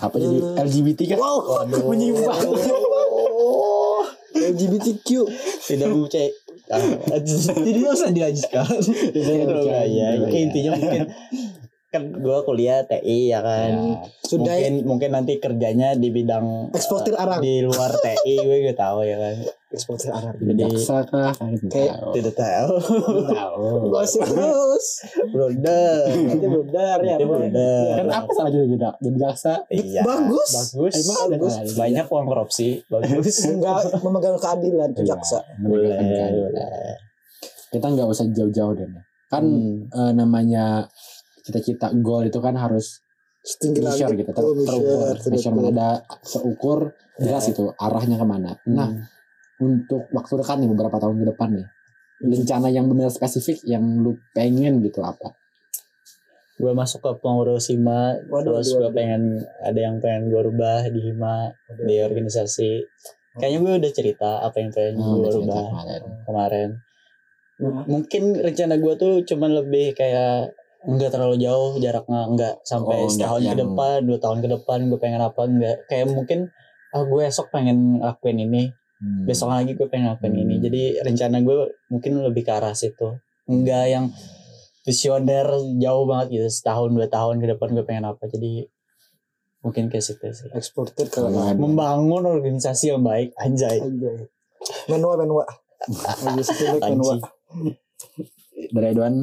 Speaker 2: Apa jadi
Speaker 1: Hmm.
Speaker 2: LGBT kan?
Speaker 1: Wow
Speaker 3: Waduh.
Speaker 1: Menyimpang LGBTQ
Speaker 3: tidak mempercayai [LAUGHS] jadi nggak usah dilanjutkan
Speaker 1: Iya,
Speaker 2: Iya,
Speaker 3: Terus aja. Iya, ya. intinya
Speaker 1: [LAUGHS]
Speaker 3: mungkin kan gue kuliah TI ya kan
Speaker 2: Iya.
Speaker 1: Iya. Sudah ya.
Speaker 3: mungkin mungkin nanti kerjanya di bidang
Speaker 1: Eksportir
Speaker 3: eh,
Speaker 1: arang.
Speaker 3: di luar TI gue gak tahu ya kan
Speaker 1: Eksportir arang
Speaker 2: Jadi jaksa kah?
Speaker 1: Kayak-
Speaker 3: tidak tahu
Speaker 2: tahu.
Speaker 1: Gosip
Speaker 3: [LAUGHS]
Speaker 1: terus
Speaker 3: blunder
Speaker 1: Nanti blunder ya
Speaker 3: Nanti
Speaker 1: Bang.
Speaker 3: blunder.
Speaker 2: Kan apa salah jadi jadi jadi jaksa?
Speaker 3: iya
Speaker 1: Bagus.
Speaker 3: bagus Nah,
Speaker 2: Emang ada
Speaker 1: Bagus.
Speaker 2: salah jadi
Speaker 3: banyak uang korupsi bagus
Speaker 1: [LAUGHS] Enggak memegang keadilan
Speaker 2: jaksa?
Speaker 1: tuh jaksa
Speaker 2: Iya,
Speaker 3: boleh Hmm.
Speaker 2: menegakkan keadilan.
Speaker 3: boleh.
Speaker 2: Kita nggak usah jauh-jauh deh. Kan
Speaker 3: Hmm.
Speaker 2: eh, namanya cita-cita goal itu kan harus
Speaker 1: Setinggi
Speaker 2: measure
Speaker 1: langit
Speaker 2: gitu, ter-
Speaker 1: Oh,
Speaker 2: terukur,
Speaker 1: measure,
Speaker 2: measurement
Speaker 1: terukur.
Speaker 2: ada seukur
Speaker 3: Iya.
Speaker 2: jelas itu arahnya kemana.
Speaker 3: Hmm.
Speaker 2: Nah, untuk waktu dekat nih beberapa tahun ke depan nih,
Speaker 3: Hmm.
Speaker 2: rencana yang benar spesifik yang lu pengen gitu apa?
Speaker 3: gue masuk ke pengurus hima
Speaker 1: Waduh, waduh,
Speaker 3: terus gue
Speaker 1: waduh.
Speaker 3: pengen ada yang pengen gue rubah di hima di organisasi kayaknya gue udah cerita apa yang pengen
Speaker 2: Hmm,
Speaker 3: gue
Speaker 2: udah cerita
Speaker 3: rubah
Speaker 2: kemarin.
Speaker 3: kemarin.
Speaker 1: Hmm.
Speaker 3: Mungkin rencana gue tuh cuman lebih kayak nggak terlalu jauh jaraknya nggak
Speaker 2: Oh,
Speaker 3: sampai
Speaker 2: nggak
Speaker 3: setahun ke
Speaker 2: yang-
Speaker 3: depan, dua tahun ke depan gue pengen apa nggak kayak mungkin ah gue esok pengen lakuin ini,
Speaker 2: Hmm.
Speaker 3: besok lagi gue pengen lakuin
Speaker 2: Hmm.
Speaker 3: ini. Jadi rencana gue mungkin lebih ke arah situ. Nggak yang visioner jauh banget gitu setahun dua tahun ke depan gue pengen apa. Jadi mungkin kayak situ sih.
Speaker 1: Eksportir ke
Speaker 2: Kalau ada-
Speaker 3: Membangun organisasi yang baik, anjay.
Speaker 1: Anjay. Menua menua. Anjay sepilek menua.
Speaker 3: Anjing.
Speaker 2: dari Edwan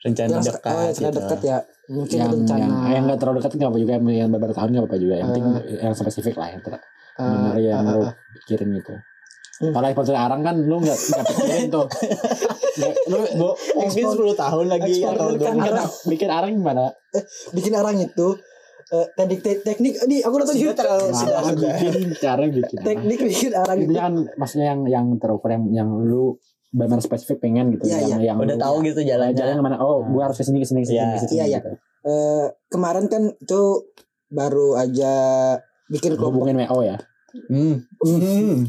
Speaker 3: Rencana
Speaker 1: Yang
Speaker 3: dekat.
Speaker 1: oh, yang
Speaker 3: gitu.
Speaker 1: dekat ya. Mungkin
Speaker 2: yang
Speaker 1: rencana
Speaker 2: yang yang nggak terlalu dekat nggak apa juga yang beberapa tahun nggak apa juga yang penting
Speaker 1: Ah.
Speaker 2: yang spesifik lah yang ter-
Speaker 1: eh,
Speaker 2: benar yang
Speaker 1: eh,
Speaker 2: lu
Speaker 1: eh,
Speaker 2: pikirin gitu
Speaker 1: Hmm.
Speaker 2: kalau ekspor dari arang kan lu nggak nggak pikirin tuh Nggak- lu
Speaker 3: Bo, mungkin 10 tahun lagi
Speaker 1: ekspor
Speaker 3: atau
Speaker 1: kan
Speaker 3: dua-
Speaker 1: arang.
Speaker 2: bikin arang gimana
Speaker 1: bikin arang itu eh, teknik te- teknik ini aku nonton
Speaker 3: Sudah
Speaker 1: YouTube.
Speaker 3: terlalu-
Speaker 1: Sudah.
Speaker 3: sudah.
Speaker 2: Arang Nah, bikin cara bikin arang.
Speaker 1: teknik bikin arang itu
Speaker 2: intinya kan maksudnya yang yang terukur yang yang lu benar spesifik pengen gitu
Speaker 1: Iya,
Speaker 2: yang yang
Speaker 3: udah
Speaker 2: lu-
Speaker 3: tahu gitu jalannya.
Speaker 2: jalan kemana oh
Speaker 3: Nah.
Speaker 2: gua harus kesini kesini kesini
Speaker 3: Iya.
Speaker 2: kesini
Speaker 1: Iya, iya.
Speaker 2: gitu.
Speaker 1: Eh, kemarin kan itu baru aja bikin kelompok
Speaker 2: hubungin wo ya
Speaker 3: Hmm. Hmm.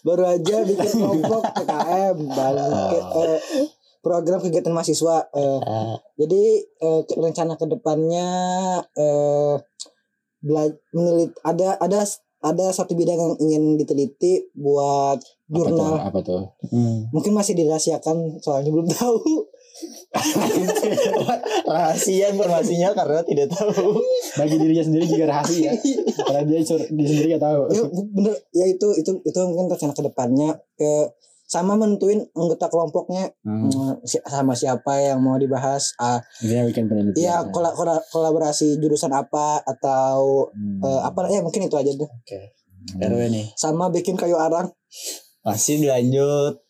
Speaker 1: baru aja bikin kelompok PKM baru ke- eh, program kegiatan mahasiswa eh,
Speaker 3: Ah,
Speaker 1: Jadi eh, ke- rencana kedepannya eh, bela- menelit ada ada ada satu bidang yang ingin diteliti buat
Speaker 2: apa tuh
Speaker 1: jurnal.
Speaker 2: apa tuh
Speaker 3: hmm.
Speaker 1: Mungkin masih dirahasiakan soalnya belum tahu.
Speaker 3: rahasia Iya, informasinya karena tidak tahu
Speaker 2: bagi dirinya sendiri juga rahasia karena dia sur- dia sendiri gak tahu
Speaker 1: ya, bu- bener ya itu itu itu mungkin rencana kedepannya ke sama menentuin anggota kelompoknya
Speaker 2: hmm.
Speaker 1: eh, si- sama siapa yang mau dibahas ah,
Speaker 2: intinya weekend penelitian
Speaker 1: Iya, kola- kola- kolaborasi jurusan apa atau
Speaker 2: Hmm.
Speaker 1: eh, apa ya mungkin itu aja deh.
Speaker 3: RW nih
Speaker 1: Sama bikin kayu arang. [LAUGHS]
Speaker 3: masih dilanjut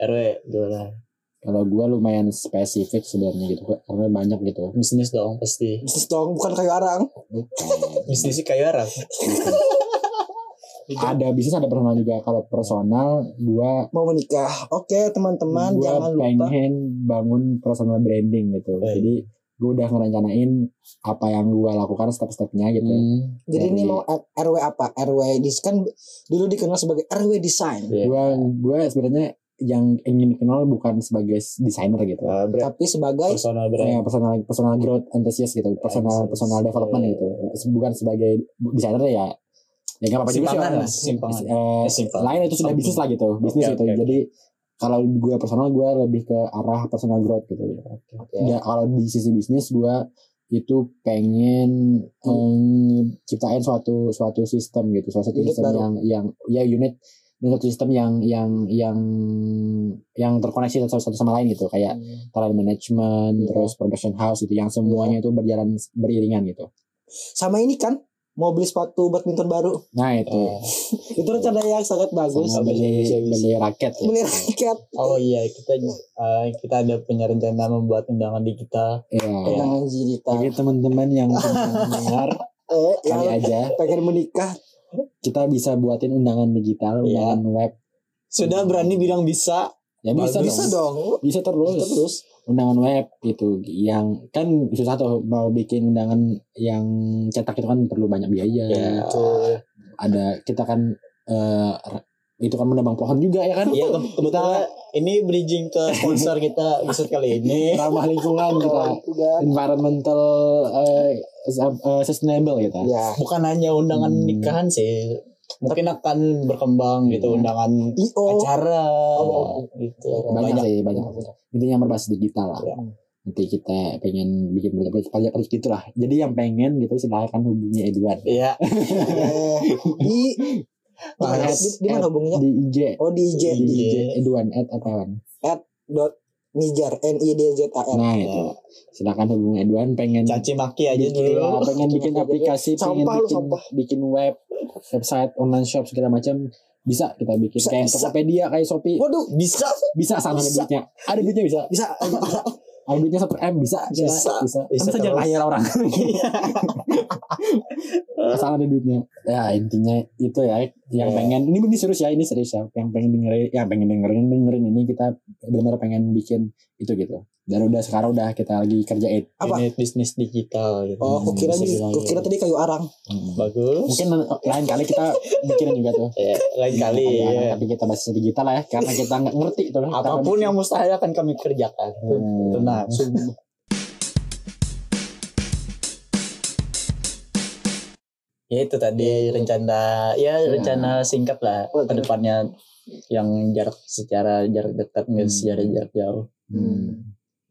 Speaker 3: RW gimana
Speaker 2: kalau gue lumayan spesifik sebenarnya gitu karena banyak
Speaker 1: [LAUGHS]
Speaker 2: gitu
Speaker 3: bisnis dong pasti
Speaker 1: Bisnis dong, bukan kayu arang.
Speaker 2: Bukan.
Speaker 3: bisnis kayu Arab
Speaker 2: ada bisnis ada personal juga kalau personal gua
Speaker 1: Mau menikah. Oke, teman-teman
Speaker 2: gua
Speaker 1: jangan lupa.
Speaker 2: pengen bangun personal branding gitu
Speaker 3: Baik.
Speaker 2: jadi gua udah ngerencanain apa yang gua lakukan
Speaker 1: Hmm.
Speaker 2: step-stepnya
Speaker 3: Hmm.
Speaker 2: gitu
Speaker 1: Jadi ini
Speaker 2: Jadi-
Speaker 1: mau R- RW apa? RW dis kan dulu dikenal sebagai RW design,
Speaker 3: Iya.
Speaker 2: gua gua sebenarnya yang ingin dikenal bukan sebagai desainer gitu
Speaker 1: tapi sebagai
Speaker 3: personal
Speaker 2: Ya, personal personal growth enthusiast gitu personal
Speaker 3: Enthusiast.
Speaker 2: personal development gitu bukan sebagai desainer ya ya nggak apa-apa juga sih
Speaker 3: Simpangan
Speaker 2: orang.
Speaker 3: lah, simpangan.
Speaker 2: Eh,
Speaker 3: Eh, simpangan.
Speaker 2: lain itu sudah
Speaker 3: Samping.
Speaker 2: bisnis lah gitu bisnis
Speaker 3: Oke,
Speaker 2: gitu
Speaker 3: oke, oke.
Speaker 2: jadi kalau gue personal gue lebih ke arah personal growth gitu ya kalau di sisi bisnis gue itu pengen eh, ciptain suatu suatu sistem gitu suatu
Speaker 1: Unit
Speaker 2: sistem
Speaker 1: baru.
Speaker 2: yang yang ya unit dan suatu sistem yang yang yang yang terkoneksi satu satu sama lain gitu kayak talent management,
Speaker 1: Hmm. Iya.
Speaker 2: terus production house itu yang semuanya itu berjalan beriringan gitu.
Speaker 1: sama ini kan mau beli sepatu badminton baru.
Speaker 2: Nah itu
Speaker 1: Iya. Itu rencana yang sangat bagus.
Speaker 2: sama beli beli raket. ya.
Speaker 1: Beli raket.
Speaker 3: Oh iya kita eh, kita ada punya rencana membuat undangan digital.
Speaker 2: Iya.
Speaker 1: Dengan Jirita.
Speaker 2: Bagi teman-teman
Speaker 1: [LAUGHS]
Speaker 2: yang pengen mendengar
Speaker 1: Eh,
Speaker 2: kali
Speaker 1: yang
Speaker 2: aja
Speaker 1: pengen menikah
Speaker 2: kita bisa buatin undangan digital,
Speaker 3: Iya.
Speaker 2: undangan web.
Speaker 3: Sudah berani bilang bisa.
Speaker 2: Ya bisa,
Speaker 1: bisa dong.
Speaker 2: dong. Bisa terus.
Speaker 1: Bisa terus.
Speaker 2: Undangan web itu yang kan susah tuh mau bikin undangan yang cetak itu kan perlu banyak biaya.
Speaker 3: Iya, Hmm, Betul.
Speaker 2: Ada kita kan eh, itu kan menebang pohon juga ya kan?
Speaker 3: Iya ke- kebetulan ini bridging ke sponsor kita episode kali [LAUGHS] ini.
Speaker 2: Ramah lingkungan kita.
Speaker 1: Oh, Udah.
Speaker 2: environmental eh, s- eh, sustainable gitu.
Speaker 1: Ya.
Speaker 3: Bukan hanya undangan
Speaker 2: Hmm.
Speaker 3: nikahan sih. Mungkin akan berkembang gitu
Speaker 2: Iya.
Speaker 3: undangan
Speaker 1: IO.
Speaker 3: acara
Speaker 1: Oh,
Speaker 3: gitu.
Speaker 2: Banyak, sih, banyak. Intinya berbasis digital lah.
Speaker 3: Iya.
Speaker 2: Nanti kita pengen bikin berita pajak terus gitu lah. Jadi yang pengen gitu silahkan hubungi Edward
Speaker 3: Iya.
Speaker 1: Eh, di di mana
Speaker 3: Males.
Speaker 1: di, di mana hubunginya?
Speaker 2: di IG.
Speaker 1: Oh di
Speaker 2: Di
Speaker 1: IG
Speaker 2: IG Edwan at apaan.
Speaker 1: dot Nijar N I D Z A R.
Speaker 2: Nah itu silahkan hubungi Edwan pengen
Speaker 3: [LAUGHS] Caci maki aja gitu
Speaker 2: bikin,
Speaker 3: dulu.
Speaker 2: pengen bikin aplikasi, pengen
Speaker 1: Sampah lu,
Speaker 2: bikin
Speaker 1: sampah.
Speaker 2: bikin web, website, online shop segala macam bisa kita bikin
Speaker 1: Bisa,
Speaker 2: kayak
Speaker 1: bisa.
Speaker 2: Tokopedia kayak Shopee
Speaker 1: Waduh
Speaker 3: Bisa.
Speaker 2: bisa sama ada
Speaker 1: Bisa.
Speaker 2: duitnya ada duitnya bisa
Speaker 1: bisa
Speaker 2: ada duitnya satu m bisa kita-
Speaker 3: Bisa.
Speaker 2: bisa
Speaker 3: Bisa
Speaker 2: bisa jangan
Speaker 3: terus.
Speaker 2: layar orang
Speaker 3: Iya.
Speaker 2: asal ada duitnya ya intinya itu ya yang
Speaker 3: Iya.
Speaker 2: pengen ini ini serius ya ini serius ya yang pengen dengerin yang pengen dengerin dengerin ini kita benar pengen bikin itu gitu dan udah sekarang udah kita lagi kerjain
Speaker 1: Apa?
Speaker 3: Unit bisnis digital gitu.
Speaker 1: Oh,
Speaker 2: Hmm,
Speaker 1: kukira
Speaker 3: bisa
Speaker 1: nih,
Speaker 3: bilang
Speaker 1: kukira
Speaker 3: gitu.
Speaker 1: tadi kayu arang.
Speaker 3: Bagus.
Speaker 2: mungkin lain kali
Speaker 3: [LAUGHS]
Speaker 2: kita mikirin juga tuh
Speaker 3: Ya, lain kali
Speaker 2: Ada-
Speaker 3: ya.
Speaker 2: tapi kita bahas digital lah ya karena kita nggak ngerti
Speaker 3: [LAUGHS]
Speaker 2: tuh
Speaker 3: Apapun yang mustahil akan kami kerjakan.
Speaker 2: Hmm.
Speaker 3: Tenang. Ya itu tadi rencana ya rencana singkat lah
Speaker 1: Iya. Oh,
Speaker 3: ke depannya yang jarak secara jarak dekat nggak
Speaker 2: Hmm.
Speaker 3: secara jarak jauh.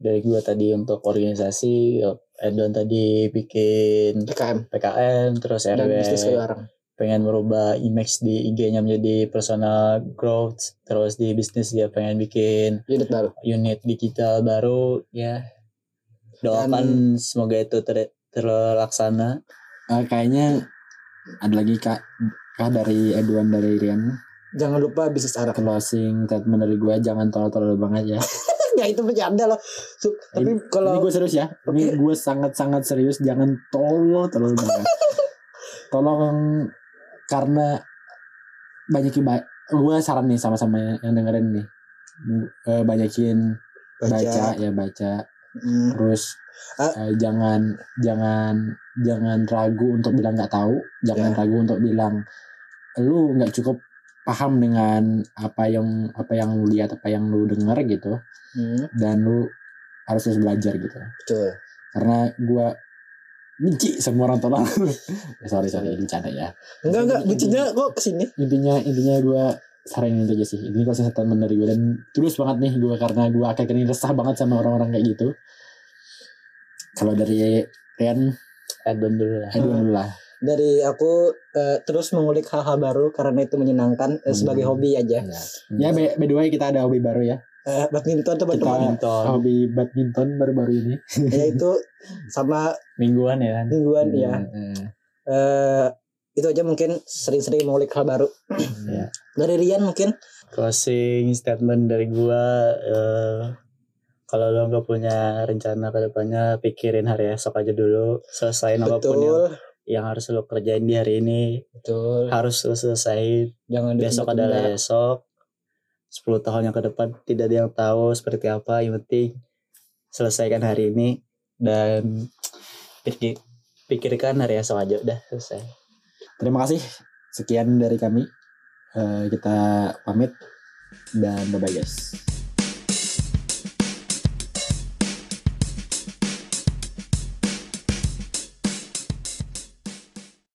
Speaker 3: Dari gua tadi untuk organisasi ya, Edon tadi bikin
Speaker 1: PKM
Speaker 3: PKN terus
Speaker 1: dan
Speaker 3: RW
Speaker 1: bisnis kayu arang.
Speaker 3: pengen merubah image di IG-nya menjadi personal growth terus di bisnis dia pengen bikin
Speaker 1: Unit baru.
Speaker 3: unit digital baru ya doakan semoga itu ter- terlaksana
Speaker 2: Eh, kayaknya ada lagi kak kak dari Edwan dari Rian
Speaker 1: Jangan lupa bisnis [LAUGHS] arang.
Speaker 2: closing statement dari gue jangan tolol-tolol banget ya
Speaker 1: ya itu bercanda loh. Su- Tapi
Speaker 2: ini
Speaker 1: kalau
Speaker 2: gue serius ya ini gue sangat-sangat serius jangan tolol-tolol
Speaker 1: [LAUGHS]
Speaker 2: banget tolong karena banyakin ba- gue saran nih sama-sama yang dengerin nih Eh, banyakin baca. ya baca
Speaker 1: Hmm,
Speaker 2: terus
Speaker 1: Ah.
Speaker 2: eh, jangan jangan jangan ragu untuk bilang nggak tahu jangan
Speaker 1: Ya.
Speaker 2: ragu untuk bilang lu nggak cukup paham dengan apa yang apa yang lu lihat apa yang lu dengar gitu
Speaker 1: hmm,
Speaker 2: dan lu harus terus belajar gitu
Speaker 1: betul.
Speaker 2: karena gua benci semua orang tolong sorry sorry bercanda [LAUGHS] ya
Speaker 1: Enggak enggak, bicinya kok kesini.
Speaker 2: intinya intinya gua saranin itu aja sih ini closing statement dari gue dan tulus banget nih gue karena gue akhir ini resah banget sama orang-orang kayak gitu kalau dari Rian
Speaker 3: Edon dulu lah.
Speaker 2: Edwin dulu lah
Speaker 1: dari aku eh, terus mengulik hal-hal baru karena itu menyenangkan eh, sebagai
Speaker 2: Hmm.
Speaker 1: hobi aja.
Speaker 2: ya, ya by, by the way kita ada hobi baru ya
Speaker 1: Eh, badminton teman-teman
Speaker 3: Badminton.
Speaker 2: hobi badminton baru-baru ini
Speaker 1: yaitu Ya, sama
Speaker 3: Mingguan ya kan.
Speaker 1: mingguan ya.
Speaker 2: Hmm.
Speaker 1: Eh, itu aja mungkin sering-sering mengulik hal baru.
Speaker 2: Ya.
Speaker 1: Dari Rian mungkin
Speaker 3: Closing statement dari gua eh, kalau lo nggak punya rencana ke depannya pikirin hari esok aja dulu selesain apapun yang,
Speaker 1: betul,
Speaker 3: yang harus lo kerjain di hari ini
Speaker 1: betul.
Speaker 3: harus lo selesaiin
Speaker 1: Jangan
Speaker 3: besok
Speaker 1: ditunda-tunda.
Speaker 3: adalah esok 10 tahun yang ke depan tidak ada yang tahu seperti apa yang penting selesaikan hari ini dan pikir pikirkan hari esok aja udah selesai
Speaker 2: terima kasih sekian dari kami Eh, kita pamit dan bye bye guys